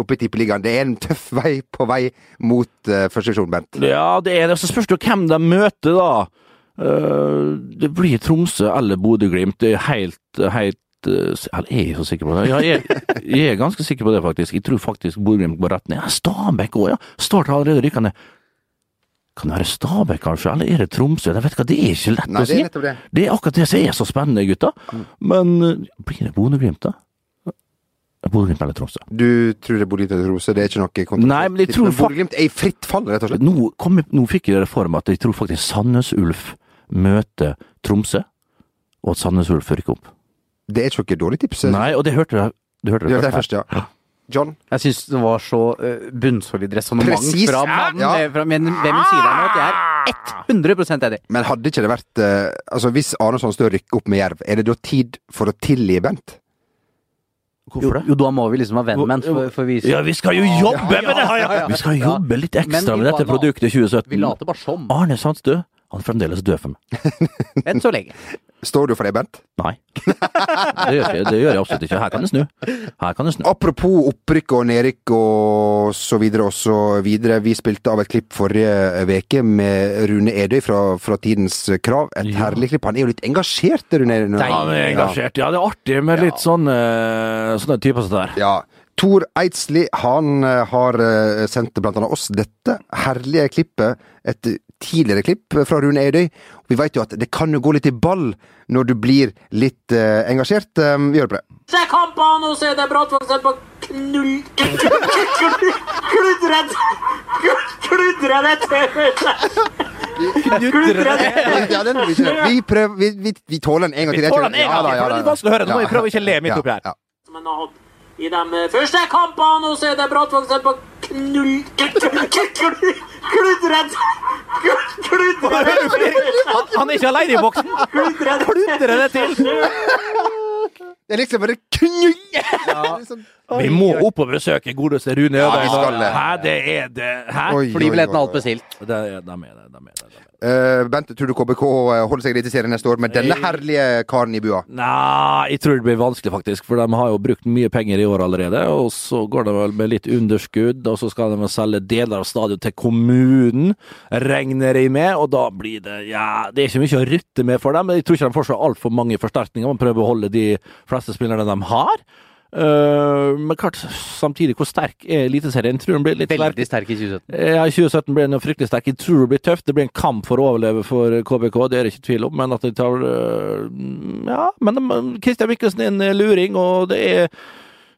S3: oppe i Tippeligaen. Det er en tøff vei på vei mot uh, første divisjon, Bent.
S2: Ja, det er det. Så spørs det jo hvem de møter, da. Eh, det blir Tromsø eller Bodø-Glimt. Det er helt, helt eh, s- Eller er jeg så sikker på det? Ja, jeg, jeg er ganske sikker på det, faktisk. Jeg tror faktisk Bodø-Glimt går rett ned. Ja, Stabæk òg, ja. Start har allerede rykka ned. Kan det være Stabæk, kanskje? Eller er det Tromsø? Jeg vet hva, Det er ikke lett
S3: Nei,
S2: å
S3: det
S2: si.
S3: er nettopp Mm. det.
S2: Det er akkurat det som er så spennende, gutta. Men eh, blir det Bodø-Glimt, da? Bodø-Glimt eller Tromsø?
S3: Du tror det er Bodø-Glimt og Tromsø, det er ikke noe kontroversielt.
S2: Nei, men jeg tror
S3: Men Bodø-Glimt er i fritt fall, rett og slett.
S2: Nå, kom, jeg- nå fikk jeg det for meg at jeg tror faktisk Sandnes Ulf møter Tromsø, og at Sandnes Ulf rykker opp.
S3: Det er ikke noe dårlig tips. eh.
S2: Nei, og det hørte jeg. Du hørte det,
S3: Det er det
S2: først her.
S3: første, ja. John,
S1: Jeg syns det var så eh, bunnsolid resonnement
S3: Presis,
S1: fra
S3: ja,
S1: mannen
S3: ja.
S1: eh, fra min, ved min side her nå at jeg er 100 enig.
S3: men hadde ikke det vært eh, Altså, hvis Arneson står og rykker opp med Jerv, er det da tid for å tilgi Bent?
S1: Jo,
S2: Hvorfor det?
S1: jo, da må vi liksom ha vennmenn for, for å vise
S2: Ja, vi skal jo jobbe med det! her! Vi skal jobbe litt ekstra
S1: Men vi
S2: med dette
S1: bare-
S2: produktet i
S1: Vi
S2: 2017.
S1: later bare som.
S2: Arne Sandstø, han er fremdeles død for meg.
S1: Enn så
S2: (laughs)
S1: lenge.
S3: Står du for det, Bent?
S2: Nei. Det gjør, jeg, det gjør jeg absolutt ikke. Her kan det snu. Her kan det snu.
S3: Apropos opprykk og nedrykk og så videre og så videre. Vi spilte av et klipp forrige veke med Rune Edøy fra, fra Tidens Krav. Et herlig klipp. Han er jo litt engasjert, Rune Edøy. nå.
S2: Han er engasjert. Ja, det er artig med litt sånne, sånne typer som det der.
S3: Ja. Tor Eidsli han eh, har eh, sendt blant annet oss dette herlige klippet. Et tidligere klipp fra Rune Edøy. Vi veit jo at det kan jo gå litt i ball når du blir litt eh, engasjert. Eh, Vi hører på det.
S6: Se kampene og se det Brattvåg sitter på knull... Kludre Kludre det til Kludre det
S3: Ja, den, vi, prøver, vi, vi, vi tåler den en gang til.
S2: Vi tåler den en gang til, for det er litt vanskelig å høre. Nå må vi prøve å ikke le midt oppi her.
S3: Ja,
S6: Men jeg har hatt I de eh, første kampene hos Ede Brattvåg sett på knull... Kludret Kludret
S2: Han, han er ikke alene i boksen! Kludrer det til!
S3: Det er liksom bare knull! (laughs) Liksom,
S2: Vi må opp og besøke godeste Rune
S3: vi skal
S2: Ødal.
S3: det.
S2: Hæ, det er det Hæ?
S3: oi, oi,
S1: Flybilletten er
S3: oi.
S1: alt bestilt.
S2: Det er, de er det, de er det. de er det.
S3: Eh, Bente, tror du KBK eh, holder seg i Eliteserien neste år med denne herlige karen i bua?
S2: Nei, jeg tror det blir vanskelig, faktisk. For de har jo brukt mye penger i år allerede. Og så går det vel med litt underskudd, og så skal de vel selge deler av stadion til kommunen, regner jeg med. Og da blir det Ja, det er ikke mye å rutte med for dem. Men jeg tror ikke de får så altfor mange forsterkninger. Man prøver å holde de fleste spillerne de har. Eh, men klart, samtidig, hvor sterk er Eliteserien? Tror den blir litt sterk.
S1: Veldig sterk i 2017.
S2: Ja, i 2017 blir den jo fryktelig sterk. Jeg tror det blir tøft. Det blir en kamp for å overleve for KBK, det er det ikke tvil om. Men at de tar øh, Ja, men de- Christian Mikkelsen er en eh, luring, og det er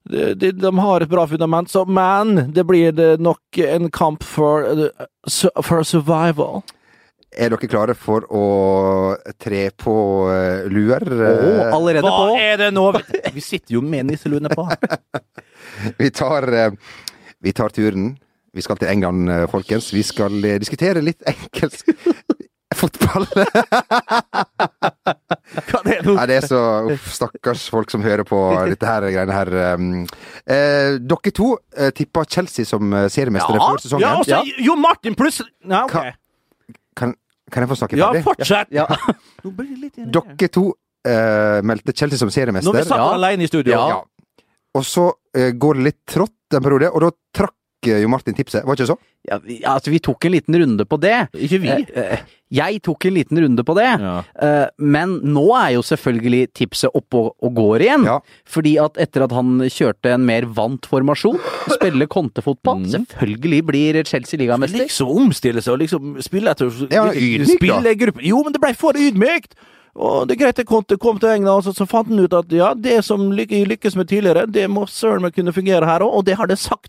S2: de, de, de har et bra fundament, så, men det blir det nok en kamp for, øh, su- for survival.
S3: Er dere klare for å tre på eh, luer?
S1: Og allerede
S2: Hva
S1: på
S2: er det nå? (laughs) Vi sitter jo med nisseluen på.
S3: Vi tar, eh, vi tar turen. Vi skal til England, eh, folkens. Vi skal eh, diskutere litt engelsk (laughs) fotball. Nei, det er så uff, Stakkars folk som hører på dette her greiene her. eh, Eh, dere to eh, tippa Chelsea som eh, seriemestere for sesongen.
S2: ja, og så Jo Martin plutselig Ja, ok.
S3: Ka- kan, kan jeg få snakke
S2: Ja,
S3: ferdig?
S2: fortsett! (laughs)
S1: Ja.
S2: Nå blir det litt irritert.
S3: Dere to eh, meldte Chelsea som
S2: Når vi
S3: seriemester.
S2: satt alene i studio.
S1: Ja.
S3: Ja. Og så eh, går det litt trått en periode, og da trakk eh, jo Martin tipset. Var ikke så?
S1: ja, vi- altså, Vi tok en liten runde på det.
S2: Ikke vi.
S1: Eh, eh, Jeg tok en liten runde på det.
S2: Ja.
S1: Eh, Men nå er jo selvfølgelig tipset oppe og- og går igjen.
S3: Ja.
S1: Fordi at etter at han kjørte en mer vant formasjon, spiller kontefotball,
S2: Mm.
S1: selvfølgelig blir Chelsea ligamester.
S2: Liksom omstille seg og liksom spille etter
S3: Ja, men ydmyk, da.
S2: spillegruppe. Jo, men det ble for ydmykt! Og det er greit det kom til, kom til England, og så, så fant han ut at ja, det som lyk- lykkes med tidligere, det må søren meg kunne fungere her òg, og det har det sagt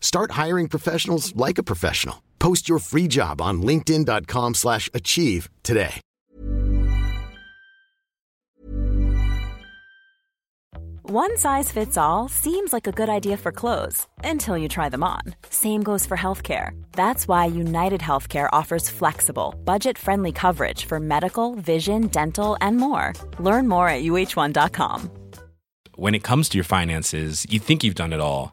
S7: Start hiring professionals like a professional. Post your free job on linkedin.com/achieve slash achieve today.
S8: One size fits all seems like a good idea for clothes until you try them on. Same goes for healthcare. That's why United Healthcare offers flexible, budget friendly coverage for medical, vision, dental, and more. Learn more at uh1.com.
S9: When it comes to your finances, you think you've done it all.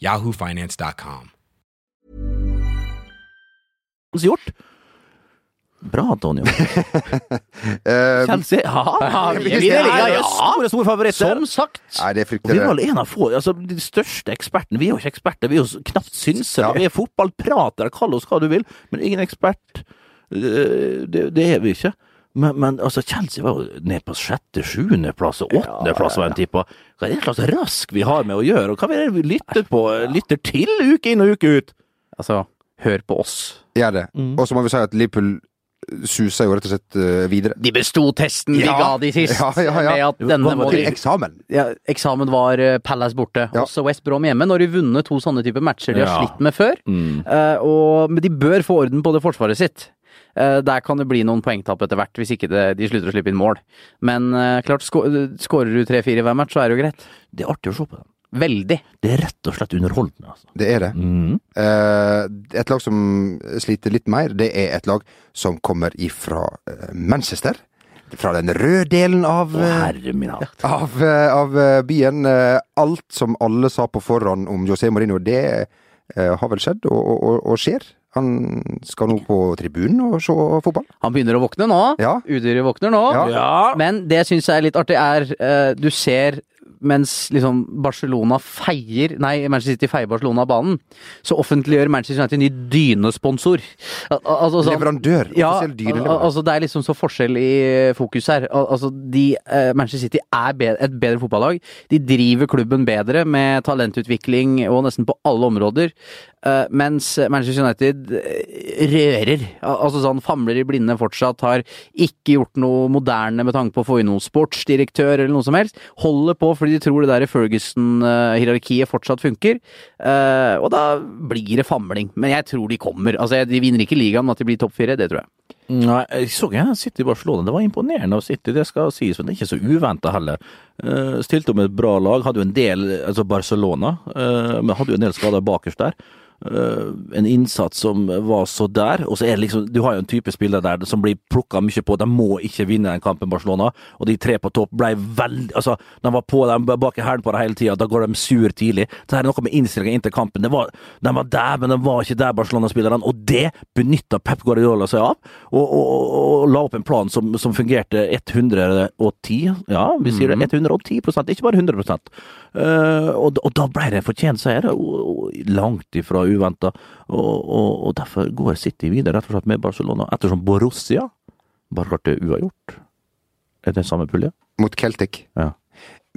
S9: yahoofinance.com.
S2: hans gjort. Bra, Antonio.
S3: Eh,
S2: Chelsea, ja.
S1: Ja,
S3: vi er videre,
S1: ja,
S2: ja. Store, store favoritter.
S1: Som sagt!
S3: nei, det
S2: Og Vi
S3: frykter
S2: er
S3: jeg.
S2: vel en av få, altså de største ekspertene. Vi er jo ikke eksperter, vi er jo knapt synsere.
S3: Ja.
S2: Vi er fotballpratere, kall oss hva du vil, men ingen ekspert. Eh, Det, det er vi ikke. Men, men altså, Chelsea var jo ned på sjette, sjuendeplass og åttendeplass, var en tippa. Hva er det slags rask vi har med å gjøre, og hva er det vi lytter på, eh, lytter til uke inn og uke ut?
S1: Altså, hør på oss.
S2: Mm.
S3: Gjør det. Og så må vi si at Liverpool susa jo rett og slett eh, videre.
S1: De besto testen de
S3: Ja.
S1: ga de sist.
S3: Ja, ja, ja.
S1: Med at
S3: Hva
S1: denne
S3: var
S1: må
S3: til
S1: de...
S3: eksamen?
S1: ja, eksamen var eh, Palace borte, også West Brom hjemme. Nå har de vunnet to sånne type matcher de har
S2: Ja.
S1: slitt med før. Eh, og, men de bør få orden på det forsvaret sitt. Eh, der kan det bli noen poengtap etter hvert, hvis ikke det, de slutter å slippe inn mål. Men eh, klart, sko- skårer du tre-fire hver match, så er det jo greit.
S2: Det er artig å se på dem.
S1: Veldig.
S2: Det er rett og slett underholdende, altså.
S3: Det er det. Eh, et lag som sliter litt mer, det er et lag som kommer ifra eh, Manchester. Fra den røde delen av,
S2: Å,
S3: eh,
S2: herre min hatt.
S3: av, eh, av eh, byen. Eh, alt som alle sa på forhånd om José Mourinho, det eh, har vel skjedd og, og, og- og skjer. Han skal nå på tribunen og se fotball.
S1: Han begynner å våkne nå.
S3: Ja.
S1: Udyret våkner nå.
S3: Ja.
S2: Ja.
S1: Men det jeg syns er litt artig, er eh, du ser mens liksom Barcelona feier Nei, Manchester City feier Barcelona av banen, så offentliggjør Manchester United en ny dynesponsor. Al al- altså, sånn-
S3: Leverandør.
S1: Ja,
S3: Offisiell
S1: al
S3: dyreleverandør.
S1: al- altså det er liksom så forskjell i fokus her. Al altså de, eh, Manchester City er be et bedre fotballag. De driver klubben bedre med talentutvikling og nesten på alle områder. Eh, mens Manchester United eh, rører. Al altså sånn famler i blinde fortsatt. Har ikke gjort noe moderne med tanke på å få inn noen sportsdirektør eller noe som helst. Holder på fordi de tror det der Ferguson-hierarkiet fortsatt funker. Eh, og da blir det famling. Men jeg tror de kommer. Altså, jeg- de vinner ikke ligaen, men at de blir topp fire, det tror jeg.
S2: Nei, jeg så jeg City i Barcelona. Det var imponerende av City, det skal sies. Men det er ikke så uventa heller. Eh, stilte med et bra lag. Hadde jo en del Altså Barcelona, eh, men hadde jo en del skader bakerst der. Eh, en innsats som var så der. Og så er det liksom Du har jo en type spiller der som blir plukka mye på. De må ikke vinne den kampen, Barcelona. Og de tre på topp ble veldig Altså, de var på dem bak i hælen på dem hele tida. Da går de sur tidlig. Det her er noe med innstillinga inntil kampen. Det var, de var der, men de var ikke der, Barcelona-spillerne. Og det benytta Pep Guardiola seg av, og, og, og, og la opp en plan som, som fungerte 110 Ja, vi sier det. 110 ikke bare 100 Eh, og, og da ble det en fortjent seier, og, og langt ifra uventa. Og, og, og derfor går City videre, rett og slett, med Barcelona. Ettersom Borussia bare klarte uavgjort. Er det samme pulje?
S3: mot Celtic.
S2: Ja.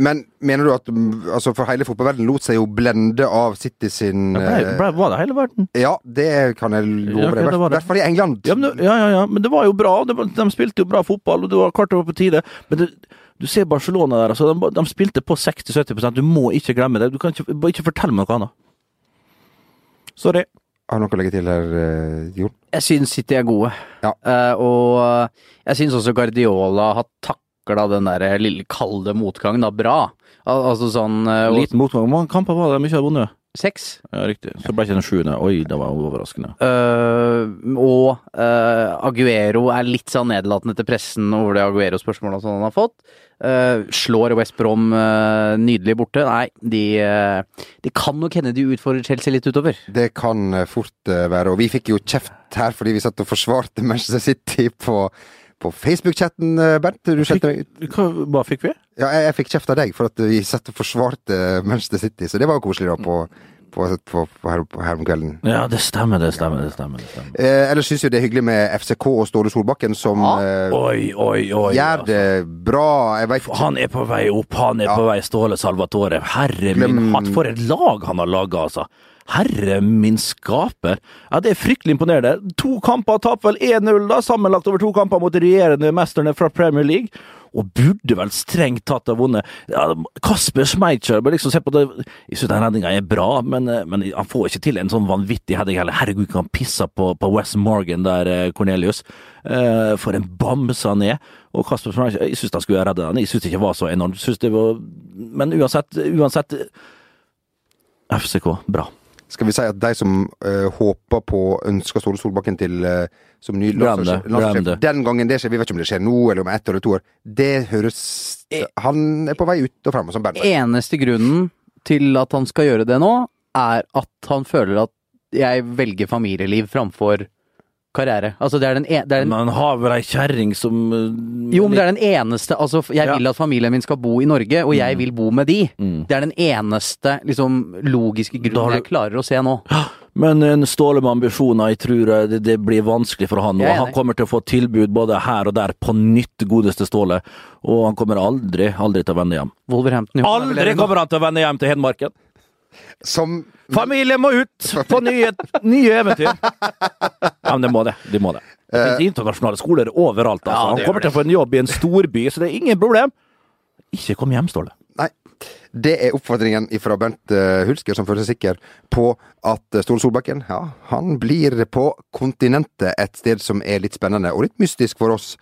S3: Men mener du at mm, altså for hele fotballverdenen lot seg jo blende av City sin
S2: Ja, ble,
S3: eh,
S2: ble, var det hele verden?
S3: Ja, det kan jeg love deg.
S2: Ja,
S3: I
S2: det
S3: hvert-
S2: var det.
S3: hvert fall i England.
S2: Ja, men, det- ja, ja, ja, men det var jo bra. Det var, de spilte jo bra fotball, og det var klart det var på tide. Men det, du ser Barcelona der, altså. De, de spilte på 60-70 Du må ikke glemme det. Du kan ikke, bare ikke fortelle meg noe annet. Sorry.
S3: Har du noe å legge til her, eh, Jon?
S1: Jeg syns City er gode.
S3: Ja.
S1: Eh, og jeg syns også Guardiola har takla den der lille kalde motgangen da bra. Al altså sånn eh, og-
S2: Liten motgang. Hvor mange kamper var det de ikke hadde vunnet?
S1: seks.
S2: Ja, riktig. Så ble ikke den sjuende. Oi, det var overraskende.
S1: Eh, og eh, Aguero er litt sånn nedlatende til pressen over det Aguero-spørsmålet som han har fått. Eh, slår West Brom eh, nydelig borte. Nei, de, eh, de kan nok hende de utfordrer Chelsea litt utover.
S3: Det kan eh, fort eh, være. Og vi fikk jo kjeft her fordi vi satt og forsvarte (laughs) Manchester City på, på Facebook-chatten, eh, Bernt. Du skjelte meg ut.
S2: Hva, hva fikk vi?
S3: Ja, jeg, jeg fikk kjeft av deg for at vi satt og forsvarte eh, Manchester City, så det var jo koselig da på, på, på, på, her, på her om kvelden.
S2: Ja, det stemmer, det stemmer, det stemmer. Det stemmer.
S3: Eh, ellers syns jo det er hyggelig med FCK og Ståle Solbakken, som eh,
S2: Oi, oi, oi.
S3: gjør det bra. Jeg vet ikke
S2: Han er på vei opp, han er
S3: Ja.
S2: på vei Ståle Salvatore. Herre min hatt, for et lag han har laga, altså. Herre min skaper. Ja, Det er fryktelig imponerende. To kamper tapt vel 1-0, da, sammenlagt over to kamper mot de regjerende mesterne fra Premier League. Og burde vel strengt tatt ha vunnet. Ja, Kasper Schmeichel bør liksom se på det Jeg syns den redninga er bra, men, eh, men han får ikke til en sånn vanvittig heading heller. Herregud, kan han pisse på, på West Morgan der, eh, Cornelius. Eh, for en bamse han er. Og Kasper Schmeichel, jeg syns han skulle ha redda den. Jeg syns det ikke var så enormt. Synes det var, men uansett, uansett eh, FCK, bra.
S3: Skal vi si at de som eh, håper på ønsker Ståle Solbakken til eh, som ny
S2: Glem det,
S3: landslagssjef
S2: glem
S3: landslagssjef,
S2: det.
S3: Den gangen det skjer, vi vet ikke om det skjer nå eller om ett eller to år, det høres Han er på vei ut og fram, som Bernt. sier.
S1: Eneste grunnen til at han skal gjøre det nå, er at han føler at jeg velger familieliv framfor karriere. Altså, det er den, e det er den
S2: Men han har vel ei kjerring som eh,
S1: jo, men det er den eneste Altså, jeg
S2: Ja.
S1: vil at familien min skal bo i Norge, og jeg vil bo med de.
S2: Mm.
S1: Det er den eneste liksom, logiske
S2: Da har
S1: grunnen
S2: du-
S1: jeg klarer å se nå.
S2: Men eh, en Ståle med ambisjoner, jeg tror eh, det, det blir vanskelig for han.
S1: Jeg
S2: Og
S1: er
S2: han
S1: enig.
S2: kommer til å få tilbud både her og der på nytt, godeste Ståle. Og han kommer aldri, aldri til å vende hjem.
S1: Wolverhampton jo, da vil jeg
S2: Aldri
S1: gjøre noe.
S2: kommer han til å vende hjem til Hedmarken!
S3: Som
S2: (laughs) Familien må ut på nye, nye eventyr! Ja, men det må det. De må det. Det finnes internasjonale skoler overalt. Altså.
S1: Ja, det
S2: Han
S1: gjør
S2: kommer til å få en jobb i en storby, så det er ingen problem. Ikke kom hjem, Ståle.
S3: Nei. Det er oppfordringen fra Bent eh, Hulsker, som føler seg sikker på at eh, Ståle Solbakken ja, han blir på kontinentet, et sted som er litt spennende og litt mystisk for oss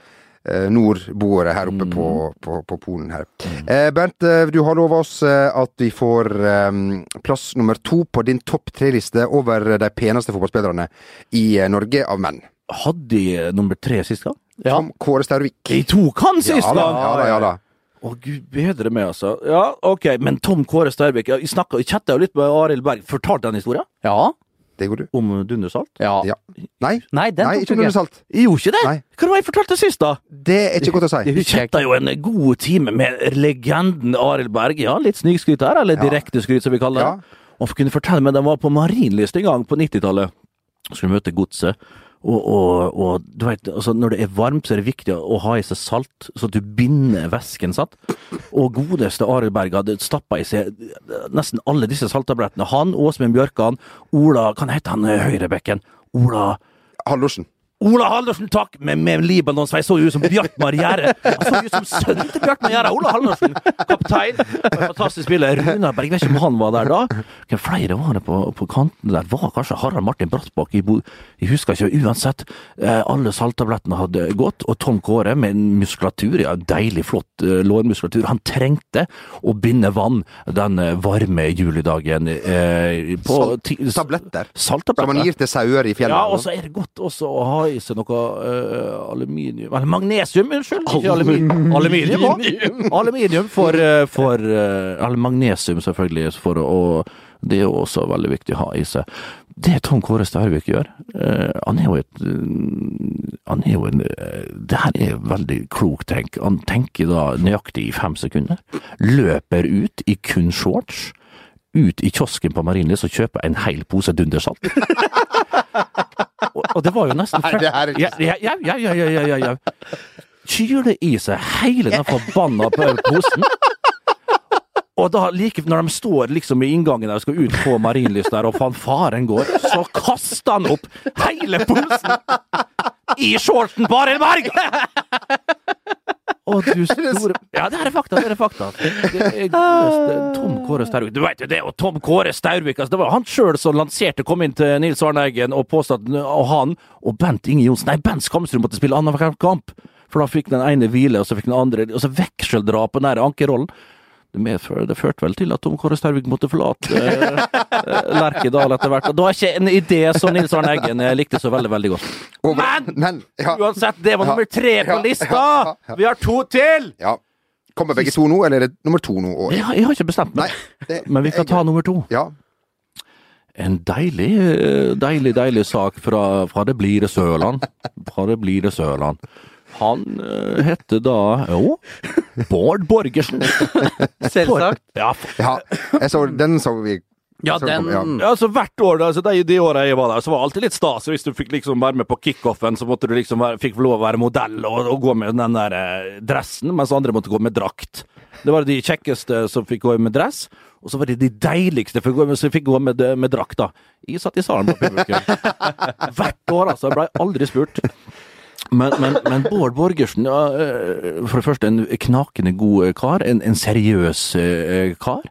S3: eh, nordboere her oppe på,
S1: Mm.
S3: på, på Polen. her. Eh, Bent, eh, du har lova oss eh, at vi får eh, plass nummer to på din topp tre-liste over de peneste fotballspillerne i eh, Norge av menn.
S2: Hadde de nummer tre sist gang?
S1: Ja.
S3: Som Kåre Staurvik.
S2: De tok han sist
S3: Ja da,
S2: gang!
S3: ja da, ja da.
S2: Å, gud bedre meg, altså. Ja, ok, men Tom Kåre Starbekk, jeg snakka jeg chatta jo litt med Arild Berg. Fortalte han historien
S1: Ja.
S3: Det går du.
S2: om Dundersalt?
S1: ja.
S3: Ja. Nei,
S1: Nei, den
S3: nei
S1: tok
S3: ikke
S1: du
S3: noe
S1: ikke.
S3: salt.
S2: Jeg gjorde ikke det!
S3: Nei.
S2: Hva var det jeg fortalte sist, da?
S3: Det er
S1: (laughs)
S3: ikke godt å si.
S2: Hun chatta jo en god time med legenden Arild Berg. Ja, litt snikskryt her, eller
S3: Ja.
S2: direkteskryt, som vi kaller
S3: Ja.
S2: det. Og hun kunne fortelle meg at de var på Marienlyst en gang på 90-tallet. Skulle møte godset. Og, og, og du vet, altså, når det er varmt, så er det viktig å ha i seg salt, så at du binder væsken, sant. Og godeste Arild Berg hadde stappa i seg nesten alle disse salttablettene. Han, Åsmund Bjørkan, Ola Kan hete han eh, høyrebekken? Ola
S3: Halvorsen.
S2: Ola Halvorsen, takk! Med, med Libanon-sveis så jo ut som Bjartmar Gjerde. Han så jo ut som sønnen til Bjartmar Gjerde! Ola Halvorsen, kaptein. Fantastisk spiller. Runar Berg, vet ikke om han var der da. Hvem flere var det på, på kanten der? Var kanskje Harald Martin Brattbakk i Bo... Jeg husker ikke. Uansett, eh, alle salttablettene hadde gått, og Tom Kåre med en muskulatur, ja, deilig flott eh, lårmuskulatur, han trengte å binde vann den eh, varme julidagen eh, på
S3: Salt-
S2: ti-
S3: tabletter.
S2: Salttabletter.
S3: Som man gir til sauer i fjellet.
S2: Ja, og så er det godt også å ha i seg noe eh, aluminium Eller magnesium, unnskyld! Ikke aluminium. Aluminium, også. aluminium for, eh, for eh, Eller magnesium, selvfølgelig. For å, og det er jo også veldig viktig å ha i seg. Det Tom Kåre Stærvik gjør eh, Han er jo et eh, Han er jo en eh, Det her er veldig klokt tenk. Han tenker da nøyaktig i fem sekunder. Løper ut i kun shorts. Ut i kiosken på Marienlyst og kjøper en hel pose dundersalt. Og, og det var jo
S3: (laughs)
S2: nesten
S3: Nei, det her er ikke
S2: ja, ja, ja, ja, ja, ja, ja, ja, ja. Kyler i seg hele den forbanna posen. Og da, like, når de står liksom i inngangen der og skal ut på Marienlyst der, og fanfaren går, så kaster han opp hele posen i shortsen på Arild Berg! Å, du store Ja, det her er fakta, det her er fakta. Det er godeste Tom Kåre Staurvik. Du vet jo det, og Tom Kåre Staurvik altså, Det var han sjøl som lanserte kom inn til Nils Arne Eggen og påstod at og han og Bent Inge Johnsen Nei, Bent Skamstrud måtte spille annenhver kamp. For da fikk den ene hvile, og så fikk den andre Og så vekseldra på den der ankerrollen. Det, medførte, det førte vel til at Tom Kåre Staurvik måtte forlate eh, Lerkedal etter hvert. Og det var ikke en idé som Nils Arne Eggen eh, likte så veldig, veldig godt.
S3: Over-
S2: Men-
S3: ja.
S2: Uansett, det var
S3: Ja.
S2: nummer tre på
S3: Ja, ja, ja,
S2: lista!
S3: ja.
S2: Vi har to til!
S3: Ja. Kommer begge to nå, eller er det nummer to nå? Og,
S2: Jeg, har- jeg har ikke bestemt meg,
S3: det-
S2: men vi kan ta nummer to.
S3: Ja.
S2: En deilig, eh, deilig deilig sak fra, fra det blide Sørland. Fra det blide Sørland. Han uh, hette da Jo, Bård (laughs) Borgersen.
S1: Selvsagt.
S2: Ja, f-
S3: ja. Jeg så den så vi
S1: Ja,
S3: så kom-
S1: den
S2: Ja, altså Hvert år da, altså, de, de åra jeg var der, så var det alltid litt stas. Hvis du fikk liksom være med på kickoffen, så måtte du liksom være, fikk lov å være modell og, og gå med den der eh, dressen, mens andre måtte gå med drakt. Det var de kjekkeste som fikk gå med dress, og så var det de deiligste som fikk gå med, som fikk gå med, med drakt. da. Jeg satt i salen på publikum. Hvert år, altså. Jeg blei aldri spurt. Men, men, men Bård Borgersen, ja, eh, for det første en knakende god eh, kar, en, en seriøs eh, kar.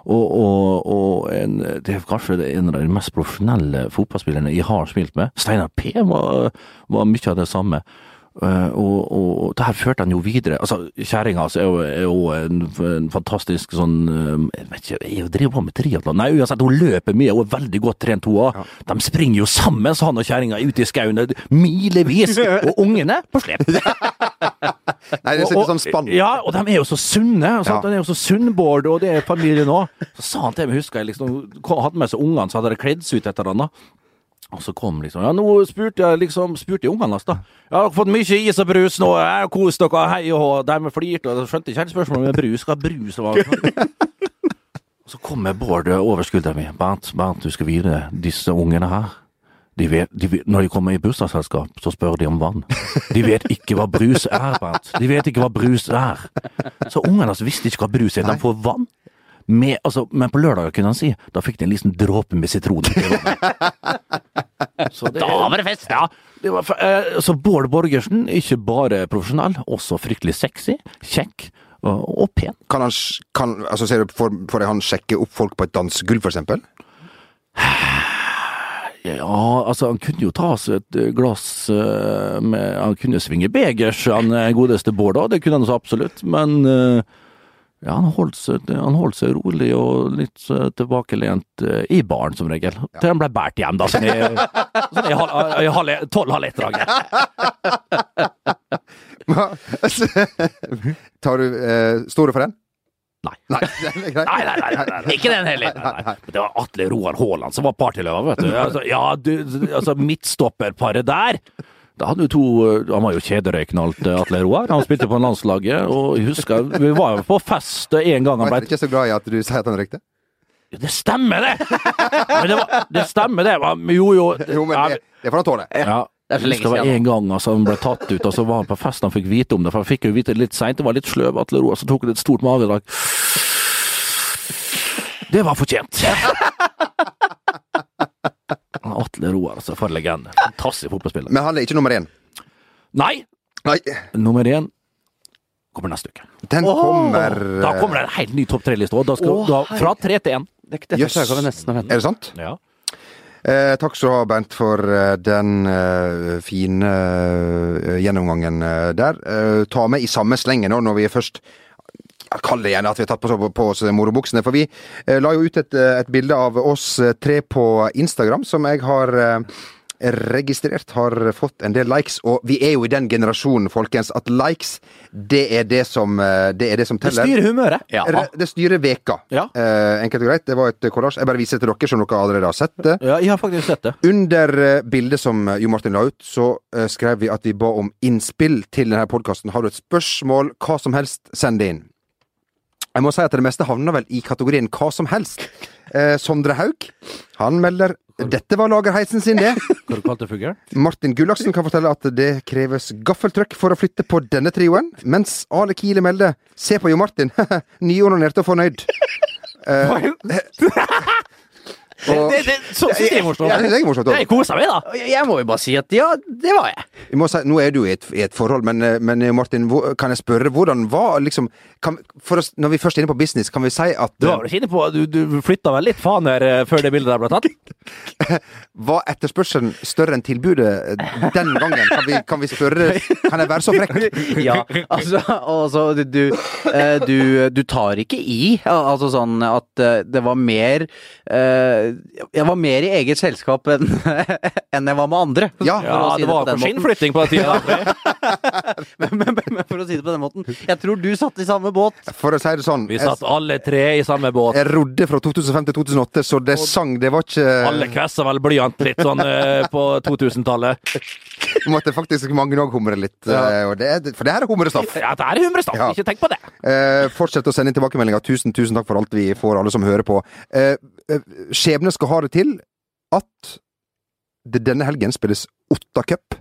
S2: Og, og, og en, det er kanskje det en av de mest profesjonelle fotballspillerne jeg har spilt med. Steinar P var, var mye av det samme. Eh, og, og, og det her førte han jo videre. Altså, Kjerringa altså, er jo, er jo en, en fantastisk sånn eh, Jeg vet ikke, jeg driver på med triatlon. Nei, uansett, hun løper mye, hun er veldig godt trent, hun òg. De springer jo sammen, så han og kjerringa, ute i skauen milevis. Og ungene på slep.
S3: Nei, det sitter sånn spann.
S2: Ja, og de er jo så sunne. Sant?
S3: Ja.
S2: De er jo så sunn, Bård, og det er familien òg. Så sa han til meg, husker jeg, liksom, kom- hadde med seg ungene, så hadde de kledd seg ut etter han da. Og så kom liksom Ja, nå spurte jeg liksom Spurte jeg ungene hans, da. Ja, dere har fått mye is og brus nå, ja, kos dere, hei og hå. De flirte, og jeg skjønte ikke helt spørsmålet med brus. Hva brus var sånn.
S3: (laughs)
S2: Så kommer Bård over skuldra mi. Bernt, Bernt, du skal vite, disse ungene her de vet, de vet, når de kommer i bursdagsselskap, så spør de om vann. De vet ikke hva brus er, Bernt. De vet ikke hva brus er. Så ungene hans visste ikke hva brus er. De får vann. Med, altså, men på lørdag kunne han si da fikk de en liten dråpe med sitron. i vannet. Så det-
S1: Da var det fest!
S2: Ja. Det var, eh, så Bård Borgersen, ikke bare profesjonell, også fryktelig sexy, kjekk og, og pen.
S3: Kan han sj- kan, altså, ser du for, for deg han sjekke opp folk på et dansegulv, for eksempel? (laughs)
S2: Ja, altså, han kunne jo ta seg et eh, glass eh, med Han kunne svinge begers, han eh, godeste Bård òg, det kunne han så absolutt, men eh, ja, han holdt, seg, han holdt seg rolig og litt eh, tilbakelent eh, i baren, som regel. Til han ble båret hjem, da, sånn i, sånn i, halv- i halv- tolv-halv ett-draget.
S3: Tar du, eh, står du for den?
S2: Nei.
S3: Nei, (laughs) den er grei.
S2: Nei, nei, nei, nei, nei.
S1: Ikke den heller.
S2: Nei, nei. Men Det var Atle Roar Haaland som var partyløva, vet du. Altså, ja, du, altså midtstopperparet der. Da hadde jo to, eh, Han var jo kjederøykende, alt, eh, Atle Roar. Han spilte på landslaget, og jeg husker Vi var jo på fest en gang han
S3: Jeg
S2: ble
S3: er ikke så glad i at du sier at han røykte.
S2: Det stemmer, det! Men det, var, det stemmer, det. Men jo, jo.
S3: Jo, men
S2: ja,
S3: det, det får han tåle.
S2: ja.
S1: Det er så lenge
S2: Jeg husker det var
S1: siden,
S2: en gang altså, han ble tatt ut, og så var han på fest han fikk vite om det. For han fikk jo vite det litt seint, det var litt sløv Atle Roar, så tok han et stort magedrag. Det var fortjent. (laughs) Atle Roar, altså, for en legende. Fantastisk fotballspiller.
S3: Men han er ikke nummer én.
S2: Nei!
S3: Nei,
S2: Nummer én kommer neste uke.
S3: den kommer eh,
S2: Da kommer det en helt ny topp tre-liste òg. Da skal-
S1: Å,
S2: da- Fra tre til én.
S1: Det er ikke dette
S3: Jøss.
S1: klarer vi nesten å vente.
S3: Er det sant?
S2: Ja.
S3: Eh, takk skal du ha, Bent, for eh, den eh, fine eh, gjennomgangen eh, der. Eh, ta med i samme slengen nå, når vi først ja, Kall det gjerne at vi har tatt på, på oss morobuksene. For vi eh, la jo ut et, eh, et bilde av oss eh, tre på Instagram, som jeg har eh, registrert har fått en del likes. Og vi er jo i den generasjonen, folkens, at likes, det er det som, eh, det er det som teller.
S2: humøret.
S3: Re- Det styrer veka.
S2: Ja.
S3: Eh, enkelt og greit. Det var et kollasj. Jeg bare viser det til dere, som dere allerede har sett det.
S2: Ja, jeg har faktisk sett det.
S3: Under eh, bildet som eh, Jo Martin la ut, så eh, skrev vi at vi ba om innspill til denne podkasten. Har du et spørsmål, hva som helst, send det inn. Jeg må si at det meste havner vel i kategorien hva som helst. Eh, Sondre Haug, han melder dette var lagerheisen sin, det.
S2: Hva du kalte du fuglen?
S3: Martin Gullaksen kan fortelle at det kreves gaffeltrøkk for å flytte på denne trioen, mens Ale Kile melder 'Se på Jo Martin', (laughs) nyordinert og fornøyd. Eh, og,
S2: Det, det, så, så det er morsomt.
S3: Ja, det er morsomt også.
S2: Jeg koser meg, da.
S1: Jeg jeg må jo bare si at ja, det var jeg.
S3: Vi må si, nå er du i et, i et forhold, men, eh, men eh, Martin, hvor, kan jeg spørre hvordan var liksom kan, for oss, Når vi først er inne på business, kan vi si at eh,
S2: Du var vel ikke inne på Du, du flytta vel litt faner eh, før det bildet der
S1: (laughs)
S2: ble tatt?
S3: var etterspørselen større enn tilbudet eh, den gangen? Kan vi, kan vi spørre Kan jeg være så
S2: (laughs)
S1: (laughs)
S3: frekk?
S1: Ja, altså, altså du, du, eh, du, du tar ikke i. Al- Altså sånn at eh, det var mer eh, Jeg var mer i eget selskap enn (laughs) enn jeg var med andre.
S3: Ja.
S1: for
S2: Ja,
S1: å si
S2: det
S1: på
S2: var for
S1: den måten.
S2: skinnflytting på den tida.
S1: (laughs) Men, men, men for å si det på den måten, jeg tror du satt i samme båt.
S3: For å si det sånn,
S2: Vi
S3: jeg,
S2: satt alle tre i samme båt.
S3: jeg rodde fra 2005 til 2008, så det sang, det var
S2: Alle
S3: ikke
S2: kvessa vel blyant litt sånn eh, på 2000-tallet.
S3: (laughs) Måtte faktisk mange òg humre litt. eh, Og det, er- for det her er humrestoff.
S2: Ja, det er humrestaff,
S3: Ja.
S2: ikke tenk på det.
S3: Eh, fortsett å sende inn tilbakemeldinger. Tusen, tusen takk for alt vi får, alle som hører på. Eh, eh, skjebne skal ha det til at det denne helgen spilles Otta Cup.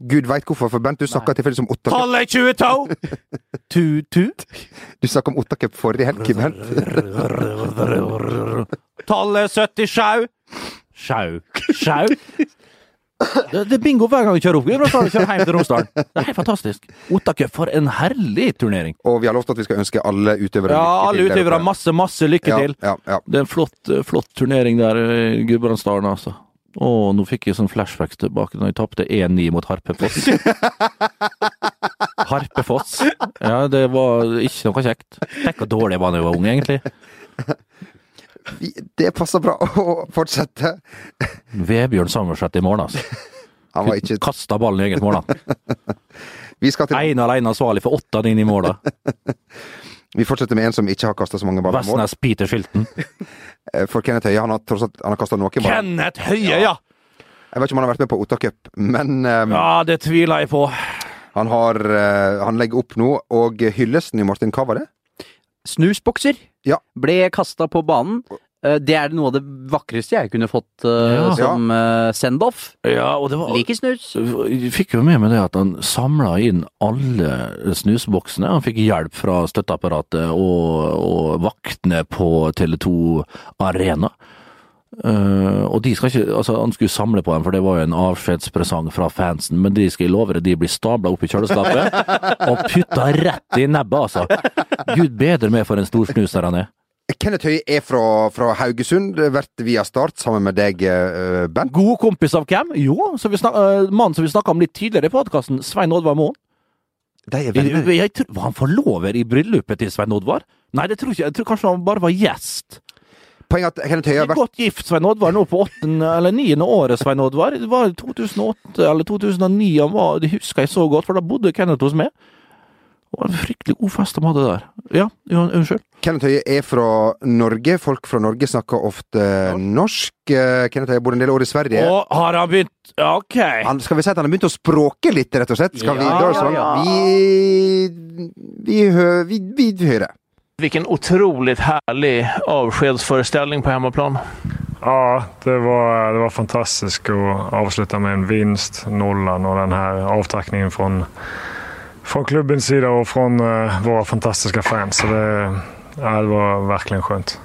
S3: Gud veit hvorfor, for Bent, du snakka tilfeldigvis om Otta Cup. (laughs)
S2: Tallet 22! Tut-tut.
S3: Du snakka om Otta Cup forrige
S2: (laughs)
S3: helg, Bent.
S2: Tallet 70 sjau. Sjau. Sjau. Det, det er bingo hver gang vi kjører opp. Gudbrandsdalen, Vi kjører hjem til Romsdalen. Det er helt fantastisk. Ottacup, for en herlig turnering.
S3: Og vi har lovt at vi skal ønske alle utøvere
S2: Ja, alle
S3: lykke til der
S2: utøvere,
S3: oppe.
S2: masse, masse lykke til.
S3: Ja, ja,
S2: Det er en flott, eh, flott turnering der, eh, Gudbrandsdalen, altså. Å, nå fikk jeg sånn flashbacks tilbake når jeg tapte 1-9 mot (laughs) Harpefoss. Harpefoss. Ja, det var ikke noe kjekt. Tenk hvor dårlig jeg var da jeg var ung, egentlig.
S3: ja. Vi- Det passer bra (laughs) å fortsette.
S2: Vebjørn Samuelseth i morgen, altså.
S3: Han var ikke
S2: Kasta ballen i eget mål, da.
S3: Vi, skal til,
S2: Ene alene ansvarlig for åtte av dine i mål, da.
S3: vi fortsetter med en som ikke har kasta så mange baller i mål.
S2: Vestnes Peter Shilton.
S3: Eh, For Kenneth Høie, han har tross alt han har kasta noen baller.
S2: Kenneth Høie, ja!
S3: Jeg vet ikke om han har vært med på Otta Cup, men ehm,
S2: Ja, det tviler jeg på.
S3: Han, har, eh, han legger opp nå, og hyllesten i Martin, hva var det?
S1: Snusbokser
S3: Ja.
S1: ble kasta på banen. Eh, Det er noe av det vakreste jeg kunne fått eh,
S2: Ja.
S1: som eh, send-off.
S2: Ja, og det var
S1: Liker snus.
S2: Jeg fikk jo med meg det at han samla inn alle snusboksene. Han fikk hjelp fra støtteapparatet og, og vaktene på Tele2 Arena. Eh, og de skal ikke, altså Han skulle samle på dem, for det var jo en avskjedspresang fra fansen. Men de skal jeg love deg, de blir stabla opp i kjøleskapet og putta rett i nebbet, altså. Gud bedre meg for en storsnuser han er.
S3: Kenneth Høie er fra, fra Haugesund, vært via Start sammen med deg, eh, Bent.
S2: God kompis av hvem? Jo, som vi snak, eh, mannen som vi snakka om litt tidligere i podkasten. Svein Oddvar Moen.
S3: De er
S2: Jeg,
S3: venner.
S2: jeg tror, var han forlover i bryllupet til Svein Oddvar? Nei, det tror jeg ikke. Jeg tror kanskje han bare var gjest.
S3: Poenget er at Kenneth Høie
S2: De
S3: har
S2: er
S3: vært
S2: godt gift, Svein Oddvar, nå på åttende eller niende året, Svein Oddvar. Det var i 2008 eller 2009 han var, det husker jeg så godt, for da bodde Kenneth hos meg. Det var en fryktelig god fest de hadde der. Ja, jo, unnskyld.
S3: Kenneth Høie er fra Norge. Folk fra Norge snakker ofte norsk. Eh, Kenneth Høie har bodd en del år i Sverige.
S2: Å, har han begynt Ja, OK.
S3: Han, skal vi si at han har begynt å språke litt, rett og slett? Skal vi,
S2: Ja,
S3: dra oss
S2: ja,
S3: langt?
S2: ja.
S3: sånn Vi, vi, hø, vi, vi hører.
S10: Vilken otroligt härlig avskedsföreställning på hemmaplan.
S11: Ja, det var, det var fantastiskt att avsluta med en vinst, nollan och den här avtackningen från, från klubbens sida och från eh, våra fantastiska fans. Så det, ja, det var verkligen skönt.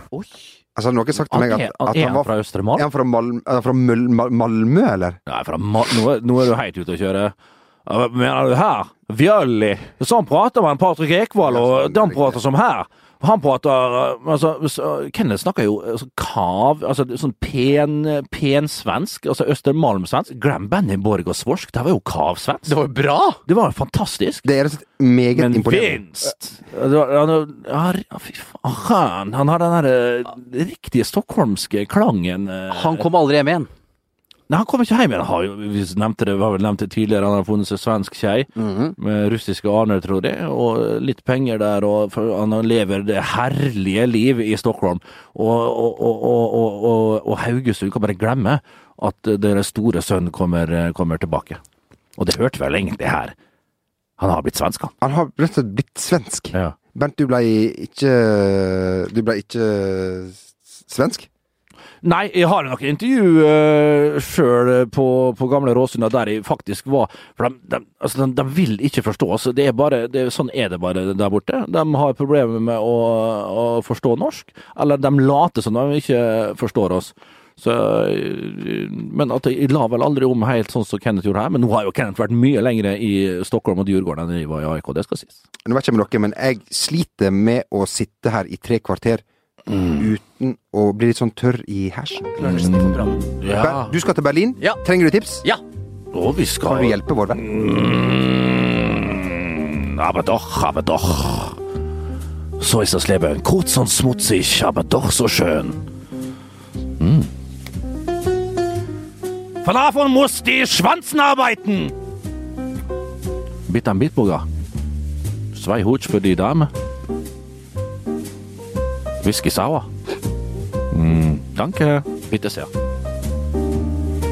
S3: Altså, har noen sagt til
S2: Han
S3: meg at,
S2: er- han
S3: at
S2: er
S3: han var
S2: fra Østre Mal?
S3: Er han fra, Mal, er han fra Møl, Mal, Malmö, eller?
S2: Nei, fra Ma nå, er- nå er du helt ute å kjøre. Ja, hva Mener du her? Vjølli. Sånn prater man Patrik Ekvall, og de prater som her. Han prater eh, altså, så- Kenneth snakker jo eh, sånn kav, altså det er sånn pen, pen svensk, altså Østermalm-svensk. Glem Bennyborg og svorsk, det var jo kav-svensk. Det var jo bra! Det var fantastisk.
S3: Det er rett og slett meget
S2: Men
S3: imponerende.
S2: vinst! Det var- Han, ja, fy faen. Han har den der eh, riktige stockholmske klangen. eh.
S1: Han kom aldri hjem igjen.
S2: Nei, han kom ikke hjem igjen. Han Har jo, vi nevnte det, vi har vel nevnt det tidligere, han har funnet seg svensk kjei med russiske aner, tror jeg, og litt penger der, og for han lever det herlige liv i Stockholm. Og, og, og, og, og, og, og Haugesund kan bare glemme at deres store sønn kommer, kommer tilbake. Og det hørte vel egentlig her. Han har blitt svensk, han.
S3: Han har rett og slett blitt svensk.
S2: Ja.
S3: Bernt, du ble ikke Du ble ikke svensk?
S2: Nei, jeg har noen intervju uh, sjøl på, på gamle Råsunda der jeg faktisk var. For de, de, altså, de, de vil ikke forstå oss. Det er bare, det, er- sånn er det bare der borte. De har problemer med å, å forstå norsk. Eller de later som de ikke forstår oss. Så, eh, men at jeg la vel aldri om helt sånn som Kenneth gjorde her. Men nå har jo Kenneth vært mye lengre i Stockholm og Djurgården enn jeg var i AIK, det skal sies.
S3: Nå vet ikke med dere, men jeg sliter med å sitte her i tre kvarter
S2: Mm.
S3: uten å bli litt sånn tørr i hersen.
S2: Ja.
S3: Bernt, Du skal til Berlin.
S1: Ja.
S3: Trenger du tips?
S1: Ja.
S2: Og vi
S3: Kan
S2: skal
S3: du hjelpe vår venn?
S2: aber doch, aber doch. So ist das Leben. Kurz und schmutzig, aber doch so schön. Hm. Von davon muss die Schwanzen arbeiten. Bitte am Bitburger. Zwei Hutsch für die Dame. Whisky sauer. Hm, danke. Bitte sehr.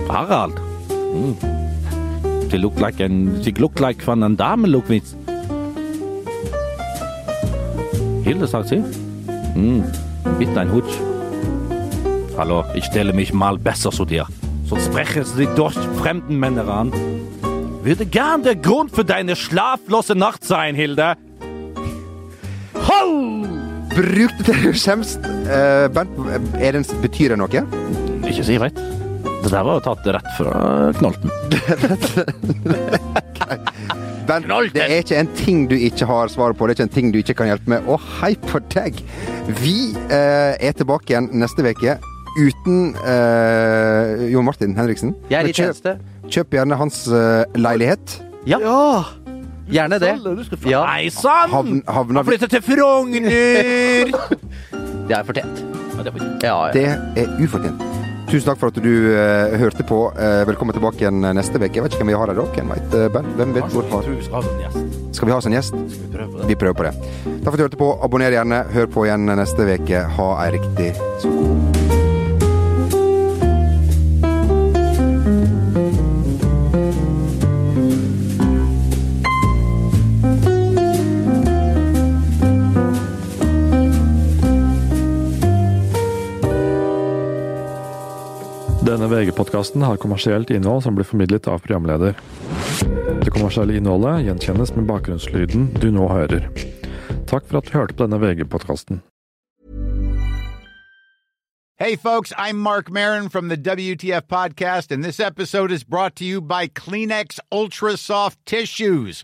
S2: Harald. Hm. She look like an, she look like van een dame look with. Hilde, sagt sie. Hm, bitte ein Hutsch. Hallo, ich stelle mich mal besser zu dir. Sonst sprechen sie durch fremden Männer an. Würde gern der Grund für deine schlaflose Nacht sein, Hilde. Ho!
S3: Bruk det til du skjemst. Eh, Bernt, er det en, betyr det noe?
S2: Ikke si veit. Det der var jo tatt rett fra Knolten.
S3: Bernt, det er ikke en ting du ikke har svar på, det er ikke en ting du ikke kan hjelpe med. Og hei på deg! Vi eh, er tilbake igjen neste uke uten eh, Jon Martin Henriksen.
S1: Jeg er
S3: Men
S1: i
S3: kjøp,
S1: tjeneste.
S3: kjøp gjerne hans eh, leilighet.
S1: Gjerne det. Ja,
S2: Nei sann!
S1: Mm.
S3: Havn, havna,
S2: Flytte til Frogner!
S1: det er fortjent.
S2: Ja, det var-
S1: Ja, ja.
S3: det er ufortjent. Tusen takk for at du eh, hørte på. Eh, velkommen tilbake igjen neste uke. Jeg vet ikke hvem vi har her da. Hvem vet, eh, Bernt? Hvem vet hvor
S2: Jeg tror vi skal ha en gjest.
S3: Skal vi ha oss en gjest?
S2: Skal vi prøve på det?
S3: Vi prøver på det. Takk for at du hørte på. Abonner gjerne. Hør på igjen neste uke. Ha ei riktig så god
S12: Denne VG-podkasten har kommersielt innhold som blir formidlet av programleder. Det kommersielle innholdet gjenkjennes med bakgrunnslyden du nå hører. Takk for at du hørte på denne VG-podkasten.
S13: Hey, folks, I'm Mark Marin from the WTF Podcast, and this episode is brought to you by Kleenex Ultra Soft Tissues,